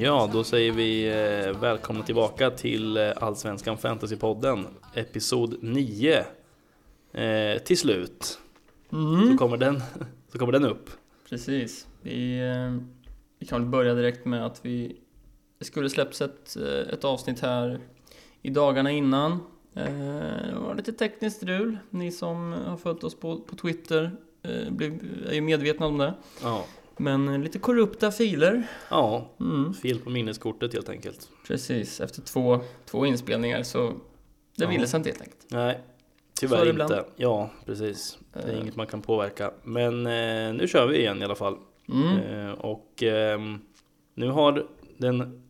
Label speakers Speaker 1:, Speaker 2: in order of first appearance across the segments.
Speaker 1: Ja, då säger vi eh, välkomna tillbaka till eh, Allsvenskan Fantasypodden Episod 9 eh, Till slut så,
Speaker 2: Mm,
Speaker 1: kommer den, så kommer den upp
Speaker 2: precis. Vi, eh, vi kan väl börja direkt med att vi det skulle släppts ett, eh, ett avsnitt här i dagarna innan. Eh, Det var lite tekniskt strul. Ni som har följt oss på, på Twitter eh, blev, är ju medvetna om det.
Speaker 1: Ja,
Speaker 2: Men eh, lite korrupta filer.
Speaker 1: ja
Speaker 2: Mm,
Speaker 1: fel på minneskortet helt enkelt
Speaker 2: precis, efter två, två inspelningar så det
Speaker 1: Ja.
Speaker 2: ville sig inte helt enkelt.
Speaker 1: Nej,
Speaker 2: Så är
Speaker 1: tyvärr
Speaker 2: det
Speaker 1: inte
Speaker 2: ibland.
Speaker 1: Ja, precis Det är
Speaker 2: Eh.
Speaker 1: inget man kan påverka Men eh, nu kör vi igen i alla fall
Speaker 2: Mm,
Speaker 1: eh, Och ehm, nu har den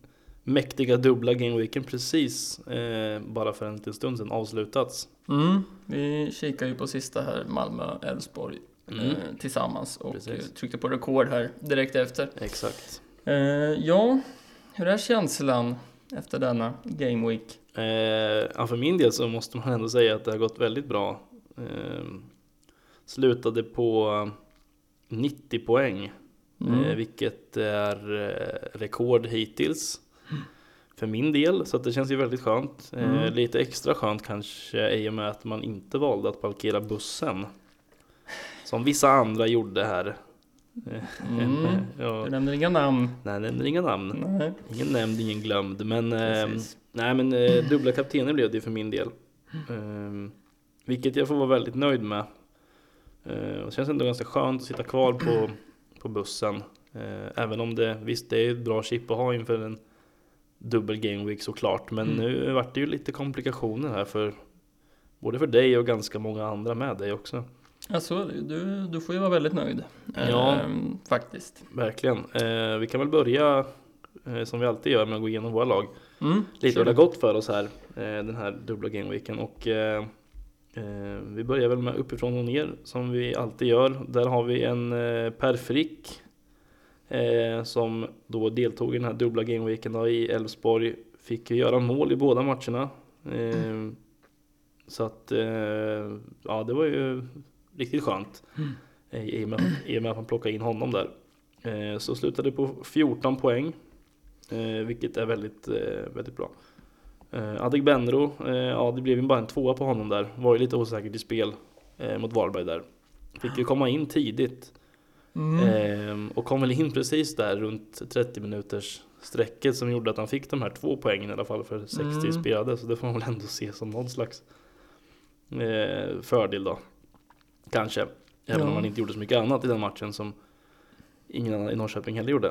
Speaker 1: mäktiga dubbla gameweeken precis eh, bara för en liten stund sedan avslutats
Speaker 2: mm. Vi kikar ju på sista här, Malmö-Elfsborg.
Speaker 1: Mm.
Speaker 2: eh, tillsammans och
Speaker 1: Precis.
Speaker 2: eh, tryckte på rekord här direkt efter.
Speaker 1: Exakt
Speaker 2: Eh, ja, hur är känslan efter denna Game Week?
Speaker 1: Eh, ja, för min del så måste man ändå säga att det har gått väldigt bra. Eh, slutade på 90 poäng,
Speaker 2: Mm.
Speaker 1: eh, vilket är eh, rekord hittills. För min del, så att det känns ju väldigt skönt. Eh,
Speaker 2: Mm.
Speaker 1: Lite extra skönt kanske i och med att man inte valde att parkera bussen. Som vissa andra gjorde här.
Speaker 2: Mm.
Speaker 1: ja.
Speaker 2: Du nämner inga namn.
Speaker 1: Nej, det är inga namn.
Speaker 2: Nej,
Speaker 1: Ingen nämnd, ingen glömd. Men ehm,
Speaker 2: precis.
Speaker 1: Nej men eh, dubbla kaptener blev det ju för min del. Ehm, vilket jag får vara väldigt nöjd med. Eh, och det känns ändå ganska skönt att sitta kvar på, på bussen. Eh, även om det, visst det är ett bra chip att ha inför en dubbel game week såklart. Men
Speaker 2: Mm.
Speaker 1: nu vart det ju lite komplikationer här för både för dig och ganska många andra med dig också.
Speaker 2: Ja, så är det ju. du, du får ju vara väldigt nöjd. Eh,
Speaker 1: Ja.
Speaker 2: faktiskt.
Speaker 1: Verkligen. Eh, vi kan väl börja eh, som vi alltid gör med att gå igenom våra lag.
Speaker 2: Mm.
Speaker 1: lite
Speaker 2: kör
Speaker 1: hur det
Speaker 2: du.
Speaker 1: har gått för oss här eh, den här dubbla gameweeken och eh, eh, vi börjar väl med uppifrån och ner som vi alltid gör. Där har vi en eh, Per Frick eh, som då deltog i den här dubbla gameweeken då i Elfsborg. Fick ju göra mål i båda matcherna. Eh, så att eh, ja, det var ju riktigt skönt
Speaker 2: Mm.
Speaker 1: eh, i, och med, i och med att man plockade in honom där. Eh, så slutade på 14 poäng. Eh, vilket är väldigt, eh, väldigt bra. Eh, Adegbenro, eh, ja det blev ju bara en tvåa på honom där. Var ju lite osäkert i spel eh, mot Varberg där. Fick ju komma in tidigt.
Speaker 2: Mm.
Speaker 1: Eh, och kom väl in precis där runt 30 minuters strecket som gjorde att han fick de här två poängen i alla fall för 60
Speaker 2: Mm.
Speaker 1: spelade. Så det får man väl ändå se som någon slags eh, fördel då. Kanske. Även
Speaker 2: Ja.
Speaker 1: om han inte gjorde så mycket annat i den matchen som ingen annan i Norrköping heller gjorde.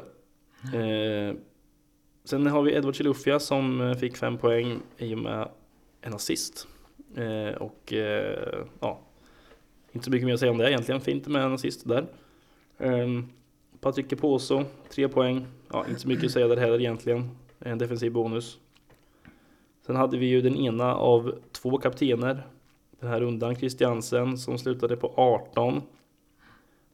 Speaker 1: Eh, sen har vi Edward Chilufya som eh, fick fem poäng i och med en assist. Eh, och eh, ja, inte så mycket mer att säga om det egentligen. Fint med en assist där. Eh, Patrik Keposo, tre poäng. Ja, inte så mycket att säga där heller egentligen. En defensiv bonus. Sen hade vi ju den ena av två kaptener den här rundan, Christiansen, som slutade på 18.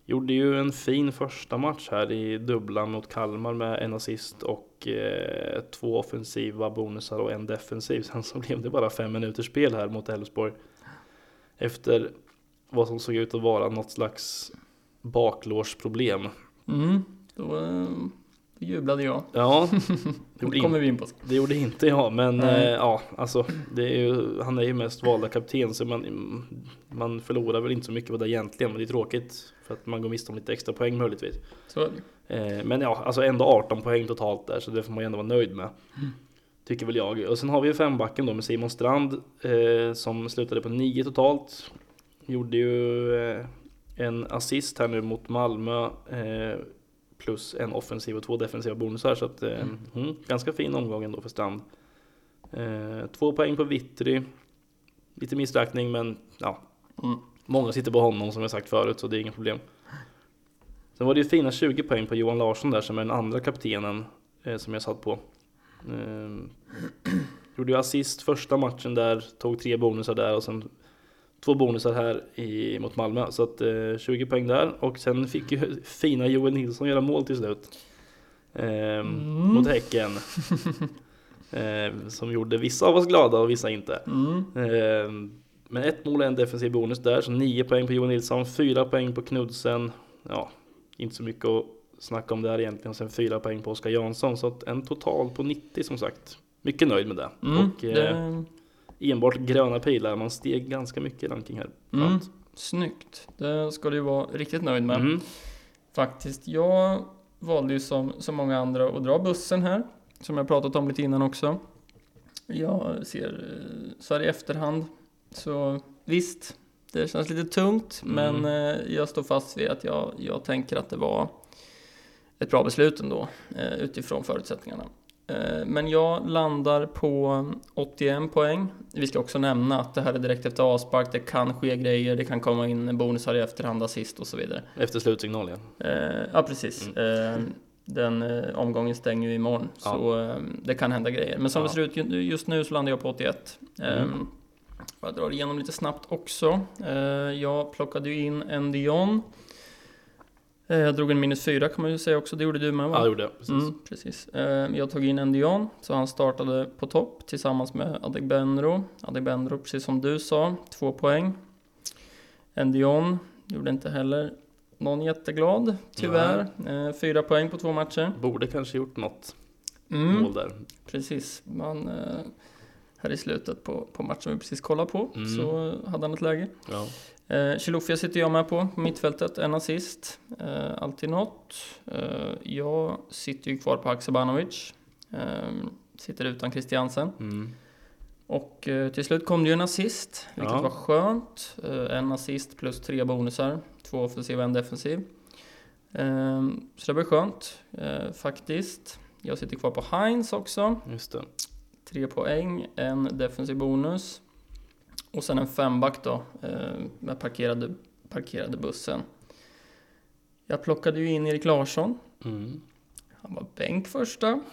Speaker 1: Gjorde ju en fin första match här i dubblan mot Kalmar med en assist och eh, två offensiva bonusar och en defensiv. Sen så blev det bara fem minuters spel här mot Elfsborg. Efter vad som såg ut att vara något slags baklårsproblem.
Speaker 2: Mm. Då, eh, då jublade jag.
Speaker 1: Ja, det gjorde,
Speaker 2: Det
Speaker 1: in,
Speaker 2: kommer vi in på. sen.
Speaker 1: det gjorde inte jag, men eh,
Speaker 2: Nej.
Speaker 1: ja, alltså, det är ju, han är ju mest valda kapten så man, man förlorar väl inte så mycket på det egentligen, men det är tråkigt för att man går miste om lite extra poäng möjligtvis.
Speaker 2: Så är det ju.
Speaker 1: Eh, men ja, alltså ändå 18 poäng totalt där, så det får man ju ändå vara nöjd med. Tycker väl jag. Och sen har vi ju fembacken då med Simon Strand eh, som slutade på 9 totalt. Gjorde ju eh, en assist här nu mot Malmö eh, plus en offensiv och två defensiva bonusar. Så att, eh,
Speaker 2: Mm.
Speaker 1: mm, ganska fin omgång ändå för Strand. Eh, två poäng på Vittry. Lite missräkning men ja,
Speaker 2: Mm.
Speaker 1: Många sitter på honom som jag sagt förut så det är inga problem. Sen var det ju fina 20 poäng på Johan Larsson där som är den andra kaptenen eh, som jag satt på. Ehm, gjorde ju assist första matchen där, tog tre bonusar där och sen två bonusar här i, mot Malmö. Så att eh, 20 poäng där och sen fick ju fina Joel Nilsson göra mål till slut. Ehm,
Speaker 2: Mm.
Speaker 1: Mot Häcken. Ehm, som gjorde vissa av oss glada och vissa inte.
Speaker 2: Mm.
Speaker 1: Ehm, Men ett mål och en defensiv bonus där, så 9 poäng på Johan Nilsson, 4 poäng på Knudsen. Ja, inte så mycket att snack om där egentligen. Och sen fyra poäng på Oskar Jansson. Så att en total på 90 som sagt. Mycket nöjd med det.
Speaker 2: Mm,
Speaker 1: och eh,
Speaker 2: det,
Speaker 1: enbart gröna pilar. Man steg ganska mycket i ranking här.
Speaker 2: mm, snyggt. Det ska du ju vara riktigt nöjd med.
Speaker 1: Mm.
Speaker 2: Faktiskt, jag valde ju som så många andra att dra bussen här, som jag pratat om lite innan också. Jag ser eh, så här i efterhand, så visst, det känns lite tungt,
Speaker 1: Mm.
Speaker 2: men eh, jag står fast vid att jag, jag tänker att det var ett bra beslut ändå, eh, utifrån förutsättningarna. Eh, Men jag landar på 81 poäng. Vi ska också nämna att det här är direkt efter avspark, det kan ske grejer, det kan komma in bonusar i efterhand, assist och så vidare.
Speaker 1: Efter slutsignal ja.
Speaker 2: Eh, ja, precis. Eh, den eh, omgången stänger ju imorgon,
Speaker 1: Mm. Ja.
Speaker 2: så eh, det kan hända grejer. Men som
Speaker 1: Ja.
Speaker 2: det ser ut ju- just nu så landar jag på 81. Eh,
Speaker 1: Mm.
Speaker 2: Jag drar igenom lite snabbt också. Eh, jag plockade ju in en Dion. Eh, jag drog en minus 4 kan man ju säga också, det gjorde du med va?
Speaker 1: Ja, det gjorde jag. Precis.
Speaker 2: Mm, precis. Eh, Jag tog in Endion, så han startade på topp tillsammans med Adegbenro. Adegbenro, precis som du sa, två poäng. Endion gjorde inte heller någon jätteglad, tyvärr. Eh, Fyra poäng på två matcher.
Speaker 1: Borde kanske gjort något
Speaker 2: Mm,
Speaker 1: mål där.
Speaker 2: precis. Man, eh, här i slutet på, på matchen vi precis kollade på,
Speaker 1: Mm.
Speaker 2: så hade han ett läge.
Speaker 1: Ja.
Speaker 2: Eh, Chilufya sitter jag med på, på mittfältet, en assist. Eh, alltid något. Eh, jag sitter ju kvar på Haksabanovic. Eh, sitter utan Christiansen.
Speaker 1: Mm.
Speaker 2: Och eh, till slut kom det ju en assist, vilket
Speaker 1: Ja.
Speaker 2: var skönt. Eh, en assist plus tre bonusar, två offensiva och en defensiv. Eh, så det var skönt, eh, faktiskt. Jag sitter kvar på Heinz också.
Speaker 1: Just det.
Speaker 2: Tre poäng, en defensiv bonus. Och sen en femback då, eh, med parkerade, parkerade bussen. Jag plockade ju in Erik Larsson.
Speaker 1: Mm.
Speaker 2: Han var bänk första.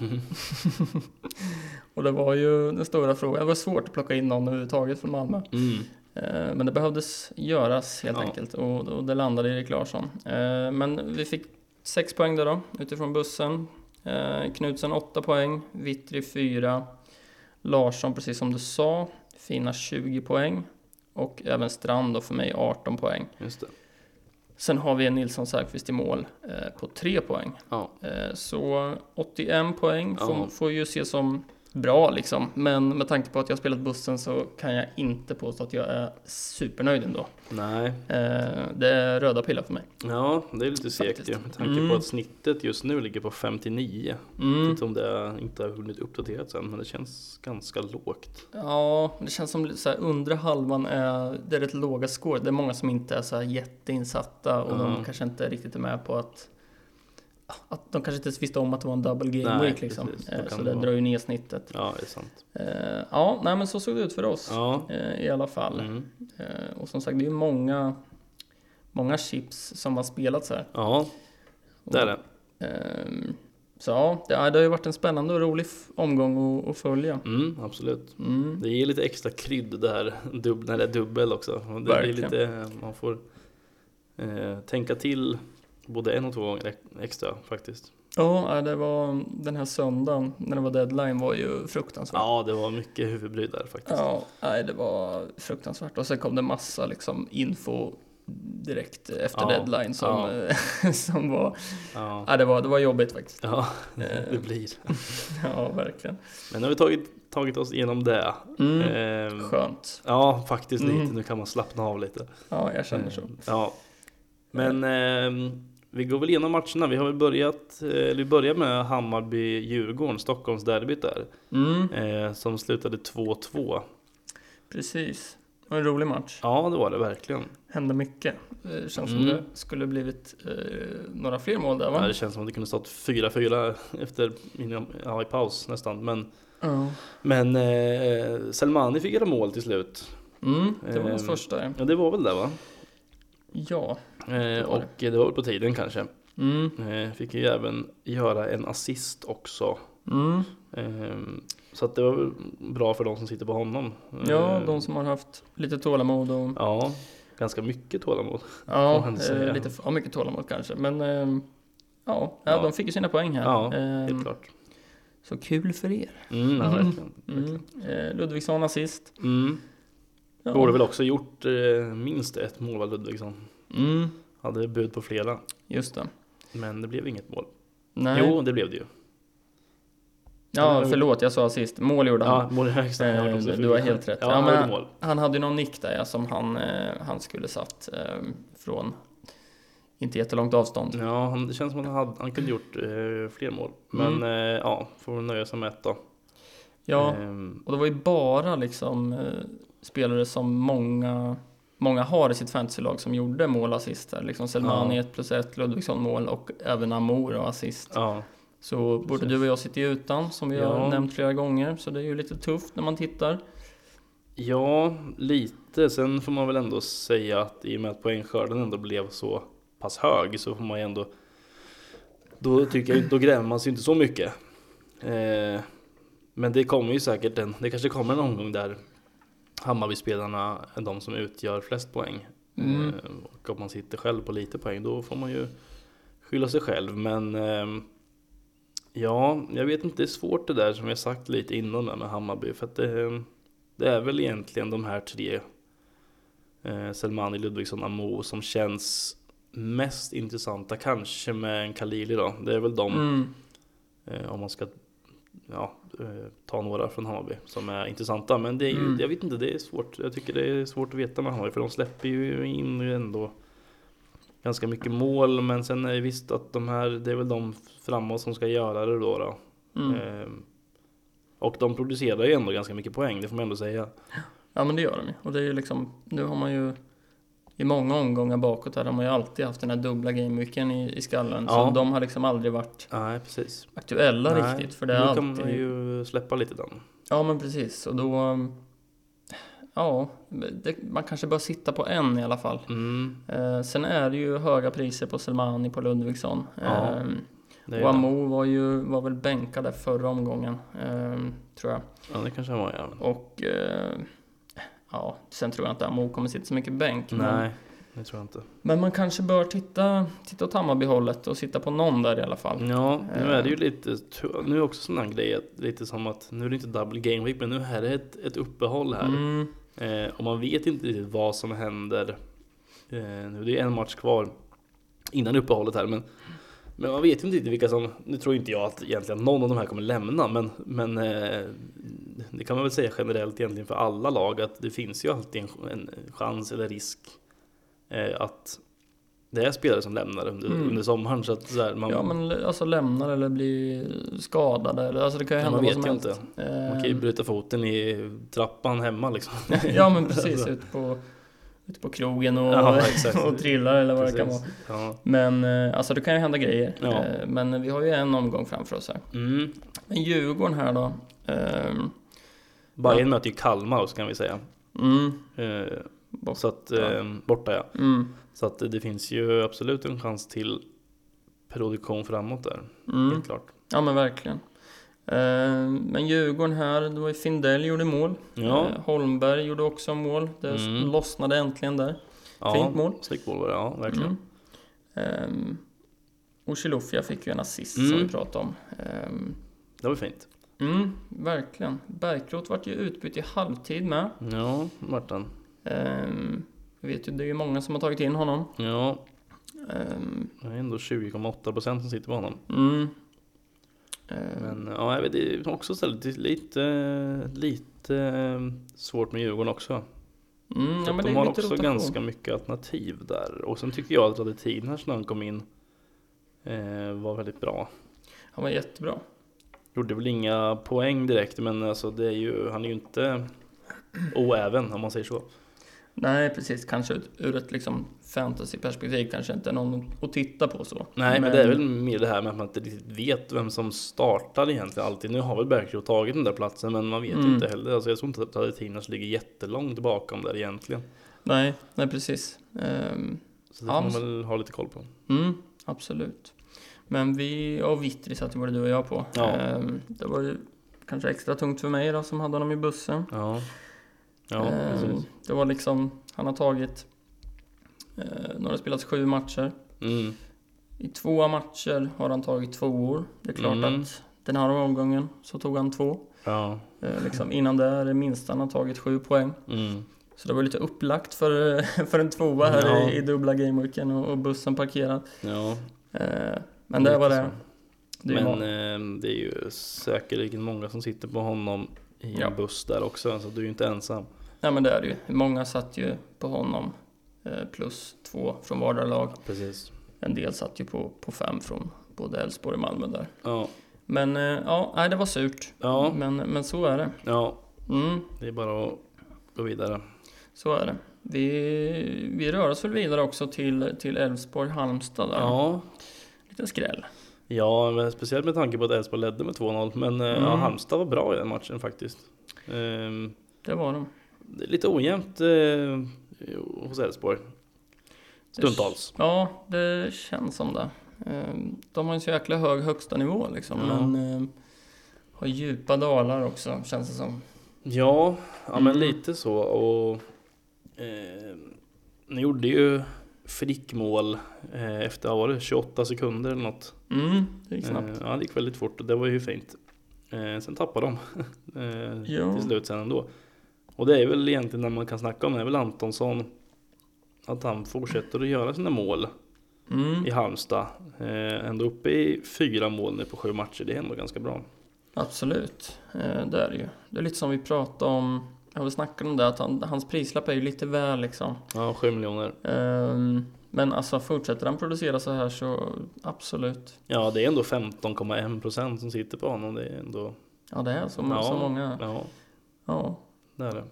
Speaker 2: och det var ju den stora frågan. Det var svårt att plocka in någon överhuvudtaget från Malmö.
Speaker 1: Mm.
Speaker 2: Eh, Men det behövdes göras helt
Speaker 1: Ja.
Speaker 2: enkelt och, och det landade Erik Larsson. Eh, Men vi fick sex poäng där då, utifrån bussen. Eh, Knutsen 8 poäng, Vittry 4, Larsson precis som du sa, Finna 20 poäng och även Strand då för mig 18 poäng.
Speaker 1: Just det.
Speaker 2: Sen har vi en Nilsson Säfqvist i mål eh, på 3 poäng.
Speaker 1: Ja.
Speaker 2: Eh, Så 81 poäng får,
Speaker 1: Ja.
Speaker 2: får ju ses som bra liksom. Men med tanke på att jag har spelat bussen så kan jag inte påstå att jag är supernöjd ändå.
Speaker 1: Nej.
Speaker 2: Eh, det är röda pillar för mig.
Speaker 1: Ja, det är lite segt ju.
Speaker 2: Faktiskt.
Speaker 1: Med tanke på
Speaker 2: Mm.
Speaker 1: att snittet just nu ligger på 59.
Speaker 2: Mm.
Speaker 1: Inte om det inte har hunnit uppdateras än, men det känns ganska lågt.
Speaker 2: Ja, det känns som så här, undre halvan är, det är rätt låga score. Det är många som inte är så här jätteinsatta och
Speaker 1: Mm.
Speaker 2: de kanske inte riktigt är med på att, att de kanske inte ens visste om att det var en double game
Speaker 1: Nej,
Speaker 2: week liksom.
Speaker 1: precis. Då
Speaker 2: Eh,
Speaker 1: kan
Speaker 2: Så
Speaker 1: det
Speaker 2: det
Speaker 1: vara.
Speaker 2: drar ju ner snittet.
Speaker 1: Ja, det är sant.
Speaker 2: Eh, Ja, nej men så såg det ut för oss.
Speaker 1: Ja.
Speaker 2: eh, I alla fall.
Speaker 1: Mm.
Speaker 2: Eh, Och som sagt, det är ju många, många chips som har spelats här.
Speaker 1: Ja,
Speaker 2: Och,
Speaker 1: det är det.
Speaker 2: ehm, Så ja, det, ja, det har ju varit en spännande och rolig f- omgång att, att följa.
Speaker 1: Mm, absolut.
Speaker 2: Mm.
Speaker 1: Det ger lite extra krydd det här dubb- när det är dubbel också. Och Det blir
Speaker 2: Verkligen.
Speaker 1: lite, man får eh, tänka till både en och två gånger extra faktiskt.
Speaker 2: Ja, ja, det var den här söndagen när det var deadline var ju fruktansvärt.
Speaker 1: Ja, det var mycket huvudbry där faktiskt.
Speaker 2: Ja, nej, det var fruktansvärt. Och sen kom det massa liksom info direkt efter
Speaker 1: Ja,
Speaker 2: deadline som, eh, som var...
Speaker 1: Ja,
Speaker 2: Ja, det var, det var jobbigt faktiskt.
Speaker 1: ja
Speaker 2: Eh,
Speaker 1: det blir.
Speaker 2: Ja, verkligen.
Speaker 1: Men nu har vi tagit, tagit oss igenom det.
Speaker 2: Mm,
Speaker 1: Ehm,
Speaker 2: skönt.
Speaker 1: Ja, faktiskt
Speaker 2: Mm.
Speaker 1: lite. Nu kan man slappna av lite.
Speaker 2: Ja, jag känner så.
Speaker 1: Ehm, Ja. Men ehm, vi går väl igenom matcherna. Vi har väl börjat, eh, eller vi börjar med Hammarby-Djurgården, Stockholmsderbyt där.
Speaker 2: Mm,
Speaker 1: Eh, som slutade 2-2.
Speaker 2: precis. Det var en rolig match.
Speaker 1: Ja, det var det verkligen.
Speaker 2: Hände mycket. Eh, Det känns som
Speaker 1: Mm.
Speaker 2: det skulle blivit eh, några fler mål där
Speaker 1: Ja,
Speaker 2: va?
Speaker 1: det känns som att det kunde stått 4-4 efter, inom, ja, i paus nästan. Men,
Speaker 2: Ja.
Speaker 1: men eh, Selmani fick göra mål till slut.
Speaker 2: Mm, det var hans
Speaker 1: Ehm.
Speaker 2: första. ja.
Speaker 1: Ja, det var väl det va?
Speaker 2: Ja.
Speaker 1: Eh,
Speaker 2: Det var det.
Speaker 1: och eh, det var väl på tiden kanske.
Speaker 2: Mm,
Speaker 1: Eh, fick ju även göra en assist också.
Speaker 2: mm.
Speaker 1: Ehm, Så att det var väl bra för de som sitter på honom.
Speaker 2: Ja,
Speaker 1: Ehm,
Speaker 2: de som har haft lite tålamod och...
Speaker 1: Ja, ganska mycket tålamod. får
Speaker 2: Ja,
Speaker 1: man säga.
Speaker 2: eh, lite för mycket tålamod kanske. Men ehm, ja, ja,
Speaker 1: Ja.
Speaker 2: de fick ju sina poäng här.
Speaker 1: Ja,
Speaker 2: Ehm,
Speaker 1: Helt klart.
Speaker 2: så kul för er.
Speaker 1: Mm, ja,
Speaker 2: Mhm.
Speaker 1: verkligen.
Speaker 2: Mm. Eh, Ludvigsson assist.
Speaker 1: Mm.
Speaker 2: Ja.
Speaker 1: Borde väl också gjort eh, minst ett mål av Ludvigsson.
Speaker 2: Mm,
Speaker 1: Hade bud på flera.
Speaker 2: just det.
Speaker 1: Men det blev inget mål.
Speaker 2: Nej.
Speaker 1: Jo, det blev det ju.
Speaker 2: Ja, förlåt, jag sa assist. Mål gjorde han.
Speaker 1: Ja, mål i högsta.
Speaker 2: Eh,
Speaker 1: Jag var också-
Speaker 2: du har helt rätt.
Speaker 1: Ja,
Speaker 2: Ja,
Speaker 1: han
Speaker 2: men-
Speaker 1: gjorde mål.
Speaker 2: Han hade ju någon nick där ja, som han, eh, han skulle satt eh, från inte jättelångt avstånd.
Speaker 1: Ja, han, det känns som att han, hade, han kunde gjort eh, fler mål. Men
Speaker 2: Mm.
Speaker 1: eh, ja, får väl nöja sig med ett då.
Speaker 2: Ja,
Speaker 1: Ehm,
Speaker 2: och det var ju bara liksom eh, spelare som många, många har i sitt fantasylag som gjorde mål och assist där. Liksom Selmani
Speaker 1: Ja.
Speaker 2: 1 plus 1, Ludvigsson mål och även Amour och assist.
Speaker 1: ja.
Speaker 2: Så både
Speaker 1: Precis.
Speaker 2: du och jag sitter ju utan, som vi
Speaker 1: Ja.
Speaker 2: har nämnt flera gånger. Så det är ju lite tufft när man tittar.
Speaker 1: ja, lite. Sen får man väl ändå säga att i och med att poängskörden ändå blev så pass hög så får man ju ändå då tycker jag, då grämer man sig inte så mycket. Eh, men det kommer ju säkert en, det kanske kommer en omgång där Hammarbyspelarna är de som utgör flest poäng.
Speaker 2: Mm.
Speaker 1: Eh, och om man sitter själv på lite poäng då får man ju skylla sig själv. Men ehm, ja, jag vet inte, det är svårt det där som jag sagt lite innan där med Hammarby. För att det, det är väl egentligen de här tre, eh, Selmani, Ludvigsson, Amo som känns mest intressanta. Kanske med en Khalili då. Det är väl de,
Speaker 2: Mm.
Speaker 1: eh, om man ska ja, eh, ta några från Hammarby som är intressanta. Men det är ju,
Speaker 2: Mm.
Speaker 1: jag vet inte, det är svårt. Jag tycker det är svårt att veta med Hammarby för de släpper ju in ändå ganska mycket mål. Men sen är det visst att de här, det är väl de framåt som ska göra det då. då.
Speaker 2: Mm.
Speaker 1: Ehm, och de producerar ju ändå ganska mycket poäng, det får man ändå säga.
Speaker 2: Ja men det gör de ju. Och det är ju liksom, nu har man ju i många omgångar bakåt här, de har ju alltid haft den här dubbla gameweeken i, i skallen.
Speaker 1: Ja.
Speaker 2: Så de har liksom aldrig varit
Speaker 1: Nej, precis.
Speaker 2: aktuella
Speaker 1: Nej,
Speaker 2: riktigt. För det är
Speaker 1: nu kan man
Speaker 2: alltid...
Speaker 1: ju släppa lite den.
Speaker 2: Ja men precis. Och då... um, Ja, det, man kanske bör sitta på en i alla fall.
Speaker 1: Mm,
Speaker 2: Eh, sen är det ju höga priser på Selmani, på Ludvigsson.
Speaker 1: Ja, det
Speaker 2: Eh,
Speaker 1: är
Speaker 2: och
Speaker 1: ju det.
Speaker 2: Amo var ju var väl bänkad där förra omgången, eh, tror jag.
Speaker 1: Ja, det kanske han var ja.
Speaker 2: Och eh, ja, sen tror jag inte Amo kommer sitta så mycket bänk. men-
Speaker 1: Nej, det tror jag inte.
Speaker 2: Men man kanske bör titta, titta åt Hammarbyhållet och sitta på någon där i alla fall.
Speaker 1: Ja, nu är det ju lite, nu är också sån här grej, att- lite som att nu är det inte double game week, men nu här är ett, ett uppehåll här.
Speaker 2: Mm,
Speaker 1: Eh, och man vet inte riktigt vad som händer eh, nu. Det är en match kvar innan uppehållet här, men, men man vet ju inte riktigt vilka som, nu tror inte jag att egentligen någon av de här kommer lämna, men, men eh, det kan man väl säga generellt egentligen för alla lag, att det finns ju alltid en, en chans eller risk eh, att det är spelare som lämnar under,
Speaker 2: Mm.
Speaker 1: under sommaren. Så att, så här, man,
Speaker 2: ja men l- alltså lämnar eller blir skadade eller alltså det kan ju
Speaker 1: Ja,
Speaker 2: hända
Speaker 1: man
Speaker 2: vad
Speaker 1: vet
Speaker 2: som
Speaker 1: ju
Speaker 2: helst.
Speaker 1: inte.
Speaker 2: Eh,
Speaker 1: Man kan ju bryta foten i trappan hemma liksom.
Speaker 2: ja men precis, ute på, ute på krogen och,
Speaker 1: Alltså. Ja, exakt.
Speaker 2: och trillar eller vad det kan
Speaker 1: Precis.
Speaker 2: vara.
Speaker 1: Ja.
Speaker 2: Men eh, alltså det kan ju hända grejer.
Speaker 1: Ja.
Speaker 2: Eh, Men vi har ju en omgång framför oss här.
Speaker 1: Mm.
Speaker 2: Men Djurgården här då. ehm,
Speaker 1: Bayern möter ju Kalmar också kan vi säga.
Speaker 2: Mm,
Speaker 1: Eh,
Speaker 2: Borta.
Speaker 1: Så att, eh, borta ja.
Speaker 2: mm,
Speaker 1: Så att det finns ju absolut en chans till produktion framåt där.
Speaker 2: mm.
Speaker 1: Helt klart.
Speaker 2: Ja men verkligen. Eh, Men Djurgården här, det var ju Findell gjorde mål.
Speaker 1: Ja,
Speaker 2: Eh, Holmberg gjorde också mål. Det
Speaker 1: Mm.
Speaker 2: lossnade äntligen där.
Speaker 1: ja.
Speaker 2: Fint mål.
Speaker 1: Snyggt mål var det, ja verkligen.
Speaker 2: Mm. och Chilufya fick ju en assist som
Speaker 1: Mm.
Speaker 2: vi pratade om. Ehm,
Speaker 1: Det var fint.
Speaker 2: mm, verkligen. Bergkrot vart ju utbytt i halvtid med.
Speaker 1: Ja, Martin.
Speaker 2: Ehm, vi vet ju, det är ju många som har tagit in honom.
Speaker 1: Ja,
Speaker 2: Ehm,
Speaker 1: det är ändå 20,8% som sitter på honom.
Speaker 2: mm. Ehm,
Speaker 1: Men ja, jag vet, det är också stället det är lite, lite eh, svårt med Djurgården också.
Speaker 2: mm, ja, men det
Speaker 1: de
Speaker 2: är
Speaker 1: har
Speaker 2: lite
Speaker 1: också
Speaker 2: rotation.
Speaker 1: ganska mycket alternativ där. Och sen tycker jag att Radetin här när han kom in eh, var väldigt bra.
Speaker 2: Han var jättebra.
Speaker 1: Gjorde väl inga poäng direkt men alltså det är ju, han är ju inte oäven om man säger så.
Speaker 2: Nej, precis. Kanske ut- ur ett liksom fantasyperspektiv kanske inte någon att titta på så.
Speaker 1: Nej men, det är väl mer det här med att man inte riktigt vet vem som startar egentligen alltid. Nu har väl Bergkrog tagit den där platsen men man vet ju
Speaker 2: Mm.
Speaker 1: inte heller. Alltså, jag tror inte att Radetinas ligger jättelångt bakom där egentligen.
Speaker 2: Nej, nej precis. Ehm,
Speaker 1: Så det får
Speaker 2: Ja,
Speaker 1: man
Speaker 2: men-
Speaker 1: väl ha lite koll på.
Speaker 2: Mm, absolut. Men vi, och Vittri satt ju både du och jag på.
Speaker 1: Ja.
Speaker 2: Ehm, Det var ju kanske extra tungt för mig då som hade honom i bussen.
Speaker 1: Ja, ja
Speaker 2: Ehm,
Speaker 1: precis.
Speaker 2: Det var liksom, han har tagit, eh, nu har det spelats sju matcher.
Speaker 1: Mm.
Speaker 2: I två matcher har han tagit tvåor. Det är klart
Speaker 1: Mm.
Speaker 2: att den här omgången så tog han två.
Speaker 1: Ja.
Speaker 2: Eh, Liksom innan det är det minsta han har tagit sju poäng.
Speaker 1: Mm.
Speaker 2: Så det var lite upplagt för, för en tvåa här
Speaker 1: Ja.
Speaker 2: i, i dubbla gameweeken och, och bussen parkerad.
Speaker 1: Ja,
Speaker 2: Eh, men det var det. det är
Speaker 1: Men
Speaker 2: ju många.
Speaker 1: eh, det är ju säkerligen många som sitter på honom i en
Speaker 2: Ja.
Speaker 1: buss där också, så du är ju inte ensam.
Speaker 2: Nej men det är det ju. Många satt ju på honom. eh, Plus två från vardera lag.
Speaker 1: Precis.
Speaker 2: En del satt ju på, på fem från både Elfsborg och Malmö där.
Speaker 1: Ja,
Speaker 2: Men eh, ja, nej, det var surt.
Speaker 1: ja,
Speaker 2: Men, men så är det.
Speaker 1: ja,
Speaker 2: Mm,
Speaker 1: det är bara att gå vidare.
Speaker 2: så är det. Vi, vi rör oss väl vidare också till till Elfsborg, Halmstad där.
Speaker 1: Ja,
Speaker 2: Lite skräll.
Speaker 1: ja men speciellt med tanke på att Elfsborg ledde med 2-0, men eh, ja,
Speaker 2: Mm.
Speaker 1: Halmstad var bra i den matchen faktiskt. Ehm,
Speaker 2: Det var de.
Speaker 1: Det är lite ojämnt eh, hos Elfsborg. Stundtals.
Speaker 2: Ja, det känns som det. Ehm, De har en så jäkla hög högsta nivå liksom,
Speaker 1: Ja.
Speaker 2: men ehm, har djupa dalar också känns det som.
Speaker 1: Ja, ja men
Speaker 2: Mm.
Speaker 1: lite så. Och, eh, ni gjorde ju frickmål eh, efter vad var det, 28 sekunder eller något.
Speaker 2: Mm, det gick
Speaker 1: Eh,
Speaker 2: snabbt.
Speaker 1: ja, det gick väldigt fort och det var ju fint. Eh, sen tappade de eh,
Speaker 2: Ja.
Speaker 1: till slut sen ändå. Och det är väl egentligen när man kan snacka om det, är väl Antonsson. Att han fortsätter att göra sina mål
Speaker 2: Mm.
Speaker 1: i Halmstad. Eh, ändå uppe i fyra mål nu på sju matcher, det är ändå ganska bra.
Speaker 2: Absolut, Eh, det är det ju. Det är lite som vi pratade om, ja, vi snackade om det, att han, hans prislapp är ju lite väl liksom.
Speaker 1: Ja, sju miljoner.
Speaker 2: Ehm, Men alltså fortsätter han producera så här så absolut.
Speaker 1: Ja, det är ändå 15,1 procent som sitter på honom. Det är ändå...
Speaker 2: Ja, det är så,
Speaker 1: Ja.
Speaker 2: så många.
Speaker 1: Ja,
Speaker 2: Ja.
Speaker 1: det är det.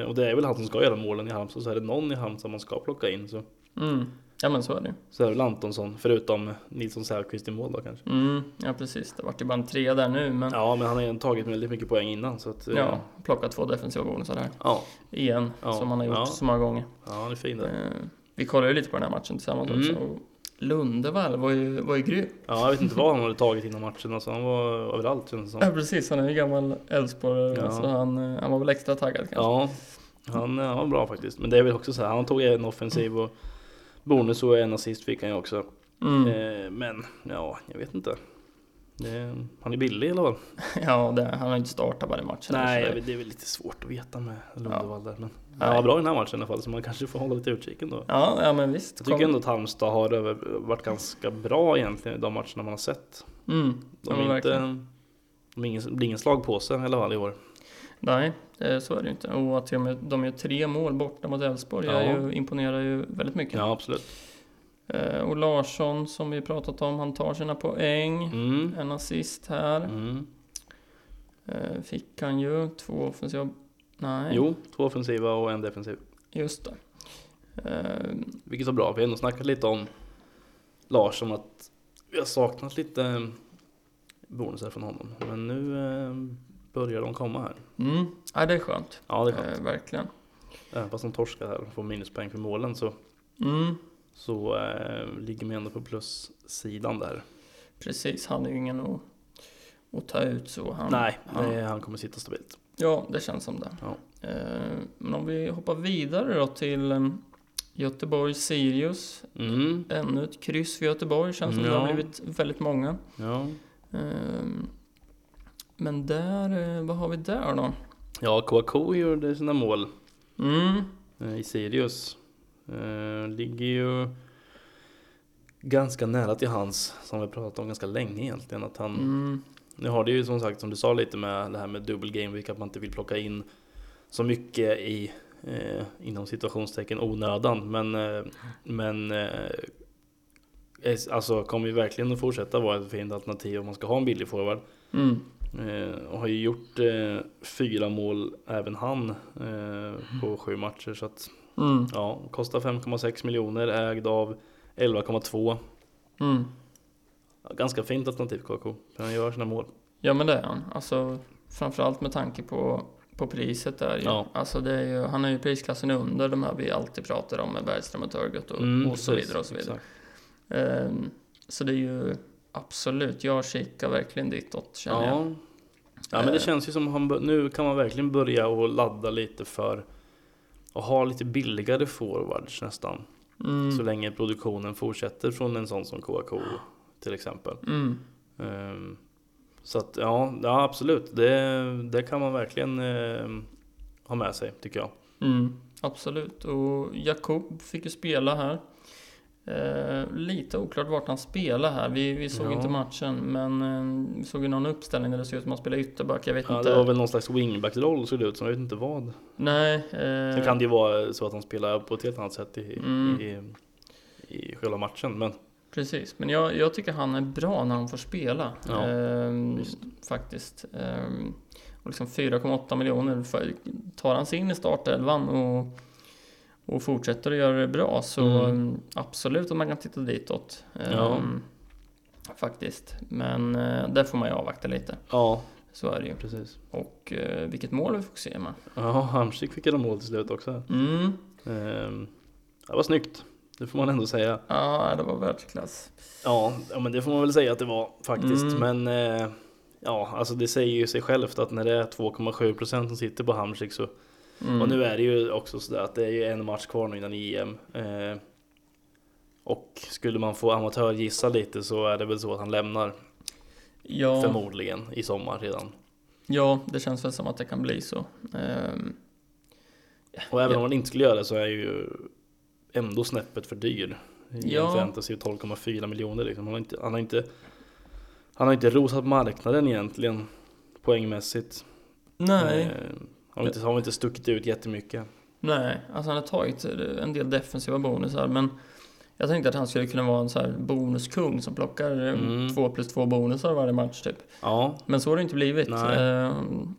Speaker 1: Eh, Och det är väl han som ska göra målen i Halmstad, så är det någon i Halmstad man ska plocka in så,
Speaker 2: Mm. ja, men så är det ju.
Speaker 1: så är det väl Antonsson, förutom Nilsson Säfqvist i mål då kanske.
Speaker 2: Mm. Ja, precis. Det vart ju bara en trea där nu, men
Speaker 1: Ja, men han har ju tagit väldigt mycket poäng innan så att... eh,
Speaker 2: ja, plocka två defensiva bonusar här.
Speaker 1: Ja,
Speaker 2: Igen,
Speaker 1: Ja,
Speaker 2: som han har gjort
Speaker 1: ja.
Speaker 2: så många gånger.
Speaker 1: ja han är fin där.
Speaker 2: Eh, vi kollade ju lite på den här matchen tillsammans
Speaker 1: Mm.
Speaker 2: också. Och Lundevall var ju, var ju grym.
Speaker 1: Ja, jag vet inte vad han hade tagit innan matchen, alltså, han var överallt kändes det som.
Speaker 2: Ja, precis. Han är ju gammal Elfsborgare,
Speaker 1: Ja.
Speaker 2: så han, eh, han var väl extra taggad kanske.
Speaker 1: Ja, han, eh, han var bra faktiskt. Men det är väl också så här, han tog en offensiv och bonus och en assist fick han ju också.
Speaker 2: Mm.
Speaker 1: Eh, Men ja, jag vet inte. Det, han är billig eller vad?
Speaker 2: Ja, det, han har ju inte startat varje match. eller
Speaker 1: Nej,
Speaker 2: så
Speaker 1: jag
Speaker 2: det-
Speaker 1: vet, det är väl lite svårt att veta med Lundevall där. Men
Speaker 2: Nej.
Speaker 1: han var bra i den här matchen i alla fall, så man kanske får hålla lite utkik ändå.
Speaker 2: Ja, ja, men visst.
Speaker 1: Jag tycker
Speaker 2: Kom-
Speaker 1: ändå att Halmstad har över, varit ganska bra egentligen i de matcherna man har sett.
Speaker 2: Mm.
Speaker 1: De
Speaker 2: ja, men
Speaker 1: är inte,
Speaker 2: verkligen.
Speaker 1: de är ingen, blir ingen slagpåse i alla fall i år.
Speaker 2: Nej, eh, så är det ju inte. Och att de, de gör tre mål borta mot Elfsborg
Speaker 1: Ja.
Speaker 2: är ju, imponerar ju väldigt mycket.
Speaker 1: Ja, absolut.
Speaker 2: Eh, Och Larsson, som vi pratat om, han tar sina poäng.
Speaker 1: Mm.
Speaker 2: En assist här.
Speaker 1: Mm.
Speaker 2: Eh, Fick han ju. Två offensiva... Nej,
Speaker 1: Jo, två offensiva och en defensiv.
Speaker 2: just det. Eh,
Speaker 1: Vilket var bra, vi har ändå snackat lite om Larsson att vi har saknat lite eh, bonusar från honom. Men nu eh, börjar de komma här.
Speaker 2: Mm. Ja, det är skönt.
Speaker 1: Ja, det är skönt.
Speaker 2: Eh, verkligen.
Speaker 1: Även Eh, fast de torskar här och får minuspoäng för målen så,
Speaker 2: Mm.
Speaker 1: så eh, ligger vi ändå på plussidan där.
Speaker 2: Precis, han är ju ingen att, att ta ut så. Han,
Speaker 1: Nej,
Speaker 2: han,
Speaker 1: nej, han kommer sitta stabilt.
Speaker 2: Ja, det känns som det.
Speaker 1: Ja.
Speaker 2: Eh, Men om vi hoppar vidare då till eh, Göteborg-Sirius.
Speaker 1: Mm,
Speaker 2: Ännu ett kryss för Göteborg, känns som det har
Speaker 1: Ja.
Speaker 2: blivit väldigt många.
Speaker 1: ja.
Speaker 2: Ehm, Men där, eh, vad har vi där då?
Speaker 1: ja, KK gjorde sina mål
Speaker 2: Mm,
Speaker 1: eh, i Sirius. Eh, ligger ju ganska nära till hans, som vi pratat om ganska länge egentligen, att han
Speaker 2: mm,
Speaker 1: Nu har det ju som sagt som du sa lite med det här med dubbel game week att man inte vill plocka in så mycket i eh, inom situationstecken onödan men eh, men eh, es- alltså kommer ju verkligen att fortsätta vara ett fint alternativ om man ska ha en billig forward
Speaker 2: mm,
Speaker 1: eh, och har ju gjort eh, fyra mål även han eh, på sju matcher så att
Speaker 2: mm,
Speaker 1: ja kostar 5,6 miljoner ägd av 11,2
Speaker 2: mm.
Speaker 1: Ja, ganska fint alternativ KK han gör sina mål
Speaker 2: Ja men det är han. Alltså, framförallt med tanke på, på priset där ju.
Speaker 1: Ja.
Speaker 2: Alltså, det är ju. Han är ju prisklassen under de här vi alltid pratar om med Bergström och Turgut och,
Speaker 1: Mm,
Speaker 2: och så
Speaker 1: precis,
Speaker 2: vidare och så vidare.
Speaker 1: exakt.
Speaker 2: Ehm, så det är ju absolut, jag kikar verkligen ditåt känner jag.
Speaker 1: Ja. ja, men det
Speaker 2: Eh.
Speaker 1: känns ju som han, bör- nu kan man verkligen börja och ladda lite för att ha lite billigare forwards nästan.
Speaker 2: Mm,
Speaker 1: Så länge produktionen fortsätter från en sån som KK till exempel.
Speaker 2: mm,
Speaker 1: Ehm, Så att ja, ja absolut. Det, det kan man verkligen ehm, ha med sig tycker jag.
Speaker 2: mm, absolut. Och Jakob fick ju spela här. Eh, lite oklart vart han spelar här. Vi, vi såg
Speaker 1: Ja.
Speaker 2: inte matchen, men eh, vi såg ju någon uppställning där det såg ut som att han spelade ytterback. Jag vet
Speaker 1: Ja,
Speaker 2: inte.
Speaker 1: det var väl någon slags wingback-roll såg det ut som, jag vet inte vad.
Speaker 2: Nej.
Speaker 1: Sen
Speaker 2: Eh,
Speaker 1: kan det ju vara så att han spelar på ett helt annat sätt i,
Speaker 2: Mm.
Speaker 1: i, i själva matchen. Men
Speaker 2: Precis, men jag, jag tycker han är bra när han får spela.
Speaker 1: Ja,
Speaker 2: Ehm,
Speaker 1: visst.
Speaker 2: faktiskt. Ehm, och liksom 4,8 miljoner. För, tar han sig in i startelvan och, och fortsätter att göra det bra så
Speaker 1: Mm.
Speaker 2: ehm, absolut att man kan titta ditåt. Ehm,
Speaker 1: Ja.
Speaker 2: Faktiskt. Men eh, där får man ju avvakta lite.
Speaker 1: ja,
Speaker 2: Så är det ju.
Speaker 1: precis.
Speaker 2: Och eh, vilket mål vi får se man.
Speaker 1: Ja, Hamsik fick göra mål till slut också.
Speaker 2: Mm.
Speaker 1: Ehm, Det var snyggt, det får man ändå säga.
Speaker 2: Ja, det var världsklass.
Speaker 1: Ja, ja, men det får man väl säga att det var faktiskt.
Speaker 2: Mm.
Speaker 1: Men eh, ja, alltså det säger ju sig självt att när det är 2,7% som sitter på Hamsik så
Speaker 2: Mm.
Speaker 1: Och nu är det ju också sådär att det är ju en match kvar nu innan EM. Eh, och skulle man få amatörgissa lite så är det väl så att han lämnar
Speaker 2: ja.
Speaker 1: förmodligen i sommar redan.
Speaker 2: Ja, det känns väl som att det kan bli så. Ehm,
Speaker 1: Och även
Speaker 2: Ja.
Speaker 1: om han inte skulle göra det så är ju ändå snäppet för dyr. I
Speaker 2: Ja.
Speaker 1: en fantasy 12,4 miljoner liksom. Han har inte, han har inte, han har inte rosat marknaden egentligen poängmässigt.
Speaker 2: nej,
Speaker 1: Eh, har inte, har inte stuckit ut jättemycket.
Speaker 2: nej. Alltså han har tagit en del defensiva bonusar, men jag tänkte att han skulle kunna vara en så här bonuskung som plockar eh,
Speaker 1: Mm.
Speaker 2: två plus två bonusar varje match typ.
Speaker 1: Ja,
Speaker 2: Men så har det inte blivit.
Speaker 1: Nej.
Speaker 2: Ehm,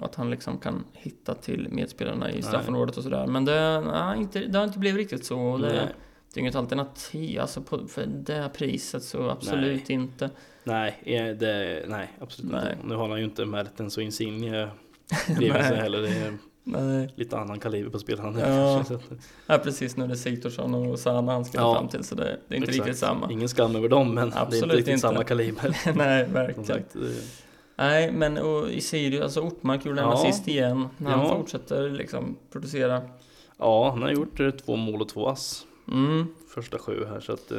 Speaker 2: att han liksom kan hitta till medspelarna i straffområdet och sådär. Men det, nej, inte, det har inte blivit riktigt så. Och Det,
Speaker 1: nej.
Speaker 2: det är inget alternativ. Alltså på, för det priset så absolut inte.
Speaker 1: Nej, eh, det, nej absolut
Speaker 2: Nej.
Speaker 1: inte. Nu har han ju inte Mertens och Insigne bredvid sig
Speaker 2: Nej.
Speaker 1: heller. Det är
Speaker 2: Nej.
Speaker 1: lite annan kaliber på spelarna nu.
Speaker 2: Ja,
Speaker 1: kanske, så att-
Speaker 2: eh,
Speaker 1: eh,
Speaker 2: Ja, precis. Nu är det Sigthorsson och Sana han ska
Speaker 1: Ja.
Speaker 2: fram till, så det, det är inte
Speaker 1: Exakt.
Speaker 2: riktigt samma.
Speaker 1: Ingen skam över dem, men det är
Speaker 2: Absolut
Speaker 1: inte riktigt
Speaker 2: inte.
Speaker 1: samma kaliber. eh,
Speaker 2: Nej,
Speaker 1: Som
Speaker 2: verkligen.
Speaker 1: sagt, det-
Speaker 2: Nej, men och i Sirius, alltså Ortmark gjorde en
Speaker 1: Ja.
Speaker 2: assist igen. När han
Speaker 1: Ja.
Speaker 2: fortsätter liksom producera.
Speaker 1: ja, han har gjort eh, två mål och två ass
Speaker 2: Mm.
Speaker 1: första sju här, så att eh,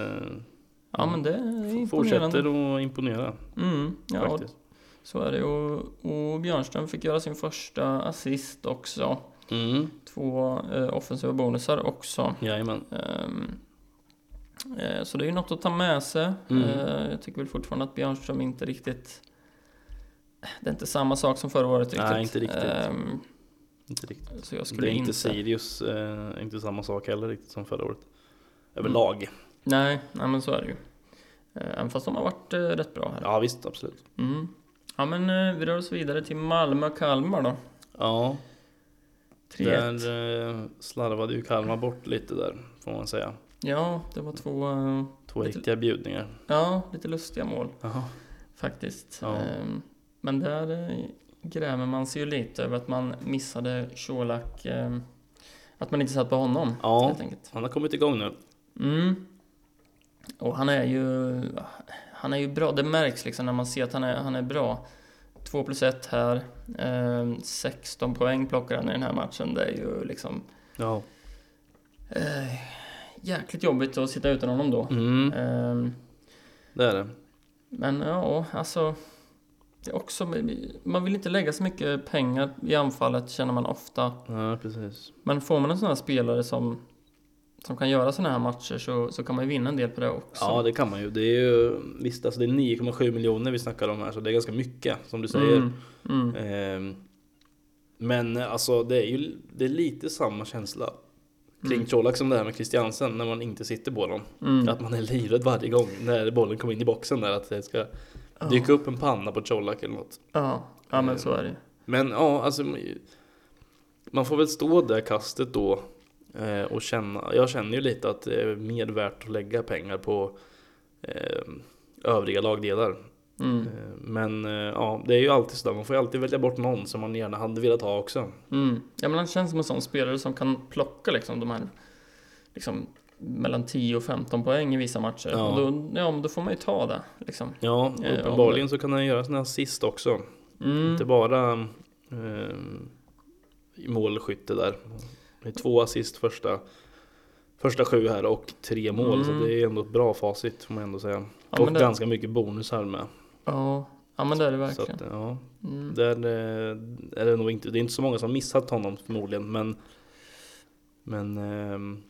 Speaker 2: Ja, men det är imponerande.
Speaker 1: fortsätter att imponera
Speaker 2: Mm, ja,
Speaker 1: faktiskt.
Speaker 2: så är det. Och, och Björnström fick göra sin första assist också.
Speaker 1: Mm,
Speaker 2: Två eh, offensiva bonusar också.
Speaker 1: jajamän.
Speaker 2: Ehm, eh, så det är ju något att ta med sig.
Speaker 1: Mm.
Speaker 2: Eh, jag tycker väl fortfarande att Björnström inte riktigt... Det är inte samma sak som förra året riktigt.
Speaker 1: Nej, inte riktigt.
Speaker 2: Ehm,
Speaker 1: Inte riktigt.
Speaker 2: så jag
Speaker 1: Det
Speaker 2: skulle
Speaker 1: är inte
Speaker 2: inte...
Speaker 1: Sirius, eh, inte samma sak heller riktigt som förra året. Överlag.
Speaker 2: Mm. Nej, nej, men så är det ju. Eh, Även fast de har varit eh, rätt bra här.
Speaker 1: Ja, visst, absolut.
Speaker 2: Mm. Ja, men eh, vi rör oss vidare till Malmö och Kalmar då.
Speaker 1: Ja,
Speaker 2: 3-1.
Speaker 1: Där eh, slarvade ju Kalmar bort lite där, får man säga.
Speaker 2: Ja, det var två... eh,
Speaker 1: Två
Speaker 2: Lite-
Speaker 1: riktiga bjudningar.
Speaker 2: Ja, lite lustiga mål.
Speaker 1: Jaha.
Speaker 2: Faktiskt.
Speaker 1: Ja.
Speaker 2: Ehm, Men där eh, grämer man sig ju lite över att man missade Colak. ehm, Att man inte satt på honom,
Speaker 1: Ja.
Speaker 2: helt enkelt.
Speaker 1: Han har kommit igång nu.
Speaker 2: Mm. Och han är ju... Han är ju bra. Det märks liksom när man ser att han är, han är bra. 2 plus 1 här. Ehm, 16 poäng plockar han i den här matchen. Det är ju liksom...
Speaker 1: Ja.
Speaker 2: eh, Jäkligt jobbigt att sitta utan honom då.
Speaker 1: Mm,
Speaker 2: Ehm,
Speaker 1: det är det.
Speaker 2: Men ja, alltså... Det är också, man vill inte lägga så mycket pengar i anfallet, känner man ofta.
Speaker 1: Ja, precis.
Speaker 2: Men får man en sån här spelare som, som kan göra såna här matcher så, så kan man ju vinna en del på det också.
Speaker 1: Ja, det kan man ju. Det är ju visst, alltså det är 9,7 miljoner vi snackar om här, så det är ganska mycket som du säger.
Speaker 2: Mm, mm.
Speaker 1: Ehm, men eh, alltså, det är ju det är lite samma känsla kring
Speaker 2: Mm.
Speaker 1: Colak som det här med Christiansen när man inte sitter på dem.
Speaker 2: Mm.
Speaker 1: Att man är livrädd varje gång när bollen kommer in i boxen där att det ska dyka upp en panna på Colak eller något.
Speaker 2: Ja, ja
Speaker 1: Eh,
Speaker 2: men så är det ju.
Speaker 1: Men ja, alltså man får väl stå där kastet då eh, och känna. Jag känner ju lite att det är mer värt att lägga pengar på eh, övriga lagdelar.
Speaker 2: Mm.
Speaker 1: Eh, Men eh, ja, det är ju alltid sådär. Man får ju alltid välja bort någon som man gärna hade velat ha också.
Speaker 2: Mm. Ja, men han känns som en sån spelare som kan plocka liksom de här liksom, mellan 10 och 15 poäng i vissa matcher.
Speaker 1: Ja.
Speaker 2: Och då, ja, men då får man ju ta det. Liksom.
Speaker 1: Ja,
Speaker 2: Ja, ja.
Speaker 1: uppenbarligen Eh, så kan han göra sina assist också.
Speaker 2: Mm.
Speaker 1: Inte bara eh, i målskytte där. Det är två assist första, första sju här och tre mål. Så
Speaker 2: Mm.
Speaker 1: det är ändå ett bra facit får man ändå säga.
Speaker 2: ja, men
Speaker 1: och
Speaker 2: det,
Speaker 1: ganska mycket bonusar med.
Speaker 2: ja. ja, men det är det
Speaker 1: Så att,
Speaker 2: verkligen.
Speaker 1: ja,
Speaker 2: Mm.
Speaker 1: där eh, är det nog inte, det är inte så många som har missat honom förmodligen, men men ehm,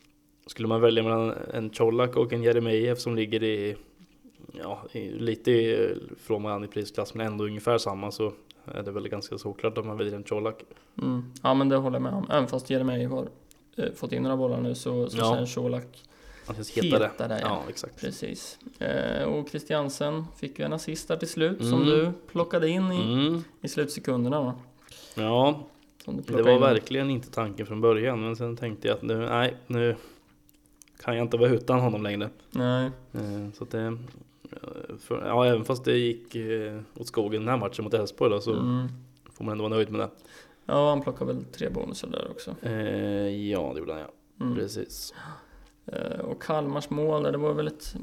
Speaker 1: Skulle man välja mellan en Colak och en Jeremejeff som ligger i, ja, i, lite i- från varandra i prisklass men ändå ungefär samma så är det väl ganska såklart att man väljer en Colak.
Speaker 2: Mm. Ja men det håller jag med om. Även fast Jeremejeff har eh, fått in några bollar nu så, så
Speaker 1: Ja.
Speaker 2: sen Colak
Speaker 1: Han känns hetare.
Speaker 2: hetare, ja.
Speaker 1: Ja, exakt.
Speaker 2: Precis. Eh, och Christiansen fick ju en assist där till slut som
Speaker 1: Mm.
Speaker 2: du plockade in i,
Speaker 1: Mm.
Speaker 2: i slutsekunderna va?
Speaker 1: Ja,
Speaker 2: Som du
Speaker 1: Det
Speaker 2: plockade
Speaker 1: var
Speaker 2: in.
Speaker 1: verkligen inte tanken från början men sen tänkte jag att nu, nej, nu kan jag inte vara utan honom längre.
Speaker 2: Nej.
Speaker 1: Eh, Så att det, eh, för, ja, även fast det gick eh, åt skogen den här matchen mot Elfsborg då, så
Speaker 2: Mm.
Speaker 1: får man ändå vara nöjd med det.
Speaker 2: Ja han plockade väl tre bonusar där också.
Speaker 1: Eh, Ja, det gjorde han ja.
Speaker 2: Mm.
Speaker 1: Precis.
Speaker 2: Eh, Och Kalmars mål, där det var väl ett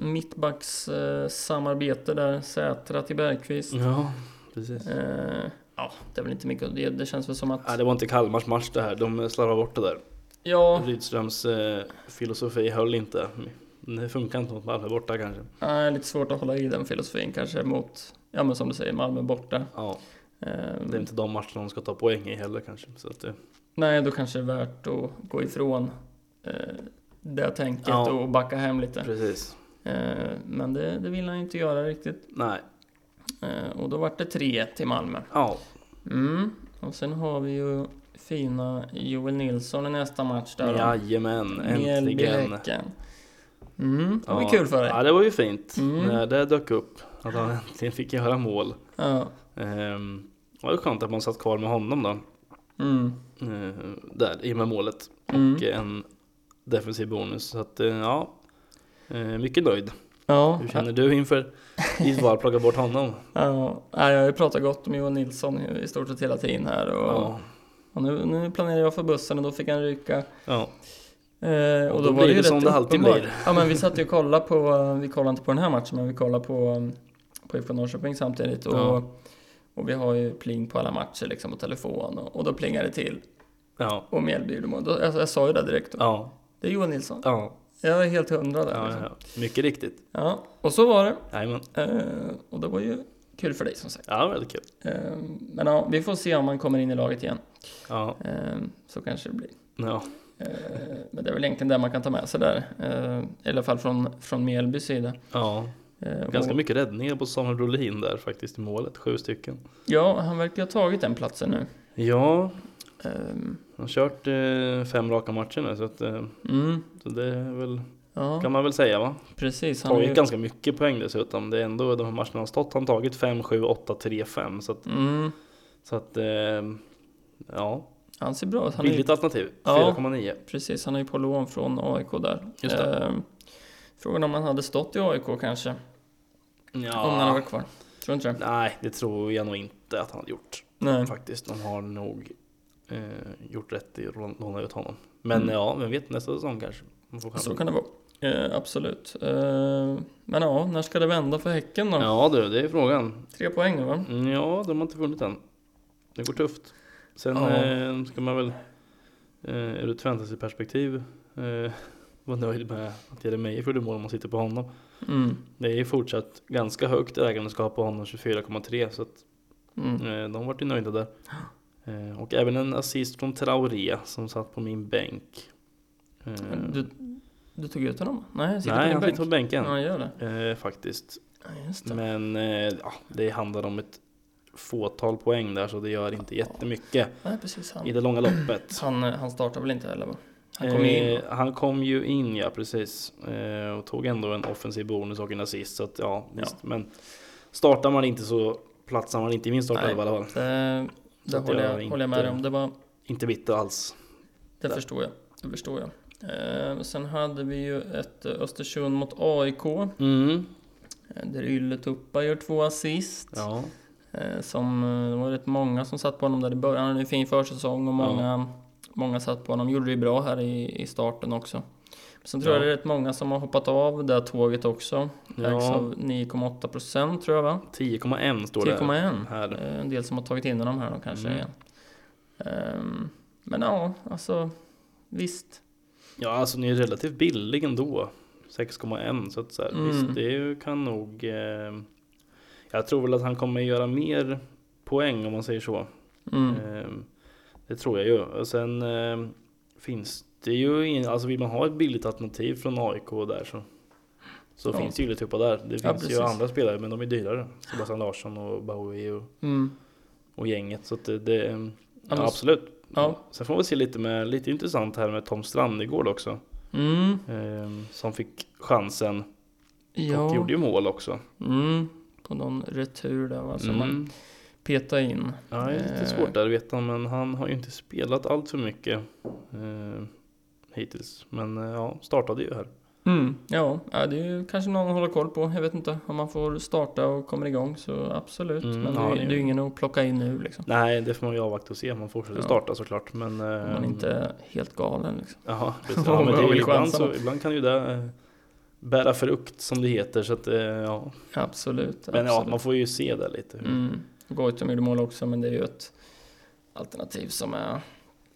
Speaker 2: mittbackssamarbete där, Sätra till Bergqvist.
Speaker 1: Ja, precis.
Speaker 2: Eh, Ja, det är väl inte mycket, det, det känns väl som
Speaker 1: Nej,
Speaker 2: att...
Speaker 1: Mm. det var inte Kalmars match det här, de eh, slarvade bort det där.
Speaker 2: Ja,
Speaker 1: Rydströms eh, filosofi höll inte. Det funkar inte mot Malmö borta kanske.
Speaker 2: nej, lite svårt att hålla i den filosofin kanske mot, ja men som du säger, Malmö borta.
Speaker 1: Ja,
Speaker 2: Eh,
Speaker 1: det är inte de matcherna de ska ta poäng i heller kanske. Så att, eh,
Speaker 2: Nej, då kanske det är värt att gå ifrån eh, det tänket
Speaker 1: Ja.
Speaker 2: och backa hem lite.
Speaker 1: precis.
Speaker 2: Eh, men det, det vill han ju inte göra riktigt.
Speaker 1: Nej,
Speaker 2: Eh, och då vart det 3-1 till Malmö.
Speaker 1: ja.
Speaker 2: Mm. Och sen har vi ju fina Joel Nilsson i nästa match där. då.
Speaker 1: Jajamän,
Speaker 2: Mjällby,
Speaker 1: äntligen.
Speaker 2: Häcken. Mm, det var
Speaker 1: Ja.
Speaker 2: kul för dig.
Speaker 1: Ja, det var ju fint
Speaker 2: Mm.
Speaker 1: när det dök upp att han äntligen fick göra mål.
Speaker 2: Ja.
Speaker 1: Ehm, det var ju skönt att man satt kvar med honom då,
Speaker 2: Mm.
Speaker 1: ehm, där i och med målet
Speaker 2: Mm.
Speaker 1: och en defensiv bonus. Så att, eh, ja, eh, mycket nöjd.
Speaker 2: Ja.
Speaker 1: Hur känner du inför ditt val att plocka bort honom?
Speaker 2: Ja. Ja, jag har ju pratat gott om Joel Nilsson i stort sett hela tiden här. Och,
Speaker 1: Ja,
Speaker 2: och nu, nu planerar jag för bussen och då fick han ryka.
Speaker 1: ja,
Speaker 2: Eh, och
Speaker 1: Och
Speaker 2: då,
Speaker 1: då
Speaker 2: var
Speaker 1: blir
Speaker 2: det ju
Speaker 1: det
Speaker 2: rätt
Speaker 1: som det alltid
Speaker 2: uppenbart.
Speaker 1: blir.
Speaker 2: Ja men vi satt ju och kollade på, eh, vi kollade inte på den här matchen men vi kollade på, eh, på IFK Norrköping samtidigt och,
Speaker 1: Ja.
Speaker 2: och vi har ju pling på alla matcher liksom på telefon och, och då plingar det till
Speaker 1: ja,
Speaker 2: och Mjällby gjorde mål. Då- alltså, Jag, jag sa ju det direkt,
Speaker 1: ja,
Speaker 2: det är Johan Nilsson.
Speaker 1: ja,
Speaker 2: Jag är helt hundra där.
Speaker 1: ja,
Speaker 2: liksom.
Speaker 1: ja. mycket riktigt.
Speaker 2: ja. Och så var det.
Speaker 1: Jajamän,
Speaker 2: Eh, och det var ju kul för dig som sagt.
Speaker 1: ja, väldigt kul.
Speaker 2: Eh, men ja, vi får se om han kommer in i laget igen.
Speaker 1: Ja,
Speaker 2: Eh, så kanske det blir.
Speaker 1: ja,
Speaker 2: Eh, men det är väl egentligen det man kan ta med sig där. Eh, I alla fall från, från Mjällbys sida.
Speaker 1: ja.
Speaker 2: Eh,
Speaker 1: Ganska
Speaker 2: och-
Speaker 1: mycket räddningar på Samuel Brolin där faktiskt i målet, sju stycken.
Speaker 2: Ja, han verkar ha tagit den platsen nu.
Speaker 1: Ja,
Speaker 2: Ehm,
Speaker 1: Han har kört eh, fem raka matcher nu så, att, eh,
Speaker 2: Mm,
Speaker 1: så det är väl,
Speaker 2: ja,
Speaker 1: kan man väl säga va?
Speaker 2: precis. Han har
Speaker 1: Tagit
Speaker 2: ju...
Speaker 1: ganska mycket poäng dessutom. Det är ändå de här matcherna han har stått. Han har tagit 5, 7, 8, 3, 5. Så att,
Speaker 2: Mm,
Speaker 1: så att eh, ja,
Speaker 2: han ser bra ut. Han är ju...
Speaker 1: billigt alternativ.
Speaker 2: Ja.
Speaker 1: 4,9.
Speaker 2: Precis, han är ju på lån från AIK där.
Speaker 1: Just det.
Speaker 2: Ehm, frågan om han hade stått i AIK kanske, om han hade
Speaker 1: Ja.
Speaker 2: varit kvar. Tror inte det.
Speaker 1: Nej, det tror jag nog inte att han har gjort
Speaker 2: Nej.
Speaker 1: faktiskt. De har nog eh, gjort rätt i att låna- låna ut honom. Men
Speaker 2: Mm.
Speaker 1: ja, vem vet nästa säsong kanske. Man får
Speaker 2: Så
Speaker 1: chansen.
Speaker 2: kan det vara. Eh, absolut. Eh, men ja, när ska det vända för Häcken då?
Speaker 1: Ja du, det är frågan.
Speaker 2: Tre poäng nu va?
Speaker 1: Mm, Ja, de har inte vunnit än. Det går tufft. Sen
Speaker 2: Ja.
Speaker 1: eh, ska man väl, eh, ur ett fantasyperspektiv, eh, vara nöjd med att Jeremejeff gjorde mål om man sitter på honom.
Speaker 2: Mm.
Speaker 1: Det är ju fortsatt ganska högt ägandeskap på honom, 24,3, så att,
Speaker 2: Mm.
Speaker 1: eh, de vart ju nöjda där. Eh, och även en assist från Traoré som satt på min bänk. Eh,
Speaker 2: Du, du tog ut honom? Nej, han sitter
Speaker 1: nej,
Speaker 2: på
Speaker 1: han
Speaker 2: din
Speaker 1: sitter på
Speaker 2: bänk.
Speaker 1: bänken.
Speaker 2: Ja, han gör det.
Speaker 1: Eh, faktiskt.
Speaker 2: Ja, just det.
Speaker 1: Men eh, ja, det handlar om ett fåtal poäng där så det gör inte jättemycket.
Speaker 2: Nej, precis. Han,
Speaker 1: I det långa loppet.
Speaker 2: han, eh, han startar väl inte heller va? Han kom ju in.
Speaker 1: Eh, han kom ju in ja, precis. Eh, och tog ändå en offensiv bonus och en assist. Så att, ja,
Speaker 2: Ja.
Speaker 1: Visst. Men startar man inte så platsar man inte i min startelva i alla fall.
Speaker 2: Det, det
Speaker 1: Så att
Speaker 2: håller, jag,
Speaker 1: jag inte-
Speaker 2: håller jag med dig om. Det, var,
Speaker 1: Inte bitter alls.
Speaker 2: det
Speaker 1: Där.
Speaker 2: förstår jag. Det förstår jag. Eh, sen hade vi ju ett eh, Östersund mot AIK.
Speaker 1: Mm.
Speaker 2: eh, Där Ylätuppa gör två assist.
Speaker 1: Ja.
Speaker 2: Eh, som, eh, det var rätt många som satt på honom där i början. Han hade en fin försäsong och många, många satt på honom. Gjorde det ju bra här i, i starten också. Sen tror
Speaker 1: Ja.
Speaker 2: jag det är rätt många som har hoppat av det här tåget också. Ägs
Speaker 1: ja.
Speaker 2: av 9,8 procent tror jag va?
Speaker 1: 10,1 står det.
Speaker 2: 10,1.
Speaker 1: Här.
Speaker 2: Eh, En del som har tagit in honom här då kanske
Speaker 1: Mm.
Speaker 2: igen. Ehm, men ja, alltså visst.
Speaker 1: Ja, alltså ni är relativt billig ändå. 6,1 så att så här,
Speaker 2: Mm.
Speaker 1: visst, det är ju- kan nog... Eh, jag tror väl att han kommer göra mer poäng om man säger så.
Speaker 2: Mm.
Speaker 1: Eh, Det tror jag ju. Och sen eh, ehm, finns Det är ju ingen, alltså vill man ha ett billigt alternativ från AIK där så, så
Speaker 2: Ja.
Speaker 1: finns det ju Ylätupa där. Det
Speaker 2: Ja,
Speaker 1: finns
Speaker 2: precis.
Speaker 1: ju andra spelare men de är dyrare. Sebastian Larsson och Bowie och,
Speaker 2: Mm. och
Speaker 1: och gänget. Så att det, det ehm, ja,
Speaker 2: Annars-
Speaker 1: absolut.
Speaker 2: Ja.
Speaker 1: Sen får vi se lite med, lite intressant här med Tom Strandegård också.
Speaker 2: Mm.
Speaker 1: Ehm, som fick chansen
Speaker 2: Ja.
Speaker 1: och gjorde ju mål också.
Speaker 2: Mm. På någon retur där va, som Alltså, man
Speaker 1: Mm.
Speaker 2: petar in.
Speaker 1: Ja, det är lite
Speaker 2: Eh.
Speaker 1: svårt där att veta men han har ju inte spelat allt för mycket eh, hittills. Men eh, ja, startade ju här.
Speaker 2: Mm. Ja, ja, det är ju kanske någon att hålla koll på. Jag vet inte om man får starta och kommer igång så absolut.
Speaker 1: Mm,
Speaker 2: Men
Speaker 1: ja,
Speaker 2: det, är-
Speaker 1: det
Speaker 2: det
Speaker 1: är
Speaker 2: är
Speaker 1: ju-
Speaker 2: ju ingen att plocka in nu liksom.
Speaker 1: Nej, det får man ju avvakta och se om han fortsätter
Speaker 2: Ja.
Speaker 1: starta såklart. Men,
Speaker 2: Om man
Speaker 1: ehm,
Speaker 2: inte är helt galen liksom.
Speaker 1: Jaha, precis. Ja, men det,
Speaker 2: Vad
Speaker 1: är-
Speaker 2: vill
Speaker 1: ibland,
Speaker 2: chansa
Speaker 1: så, ibland kan ju det eh, bära frukt som det heter. Så att, eh, ja.
Speaker 2: Absolut.
Speaker 1: Men ja,
Speaker 2: absolut.
Speaker 1: man får ju se där lite. hur-
Speaker 2: Mm. Goitom gjorde mål också, men det är ju ett alternativ som är...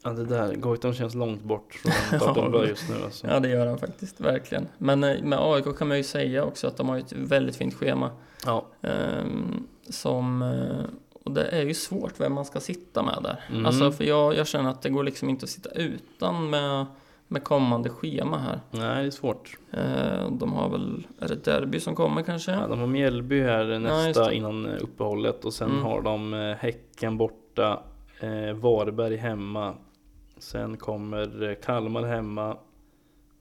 Speaker 1: Ja, det där, Goitom känns långt bort från starten bra just nu. Alltså.
Speaker 2: Ja, det gör han faktiskt, verkligen. Men eh, med AIK kan man ju säga också att de har ju ett väldigt fint schema.
Speaker 1: Ja.
Speaker 2: ehm, som, eh, och det är ju svårt vem man ska sitta med där.
Speaker 1: Mm.
Speaker 2: Alltså, för jag, jag känner att det går liksom inte att sitta utan med, med kommande schema här.
Speaker 1: Nej, det är svårt.
Speaker 2: Eh, de har väl, är det derby som kommer kanske?
Speaker 1: Ja, de har Mjällby här nästa
Speaker 2: just det.
Speaker 1: innan eh, uppehållet och sen
Speaker 2: Mm.
Speaker 1: har de eh, Häcken borta, eh, Varberg hemma, sen kommer eh, Kalmar hemma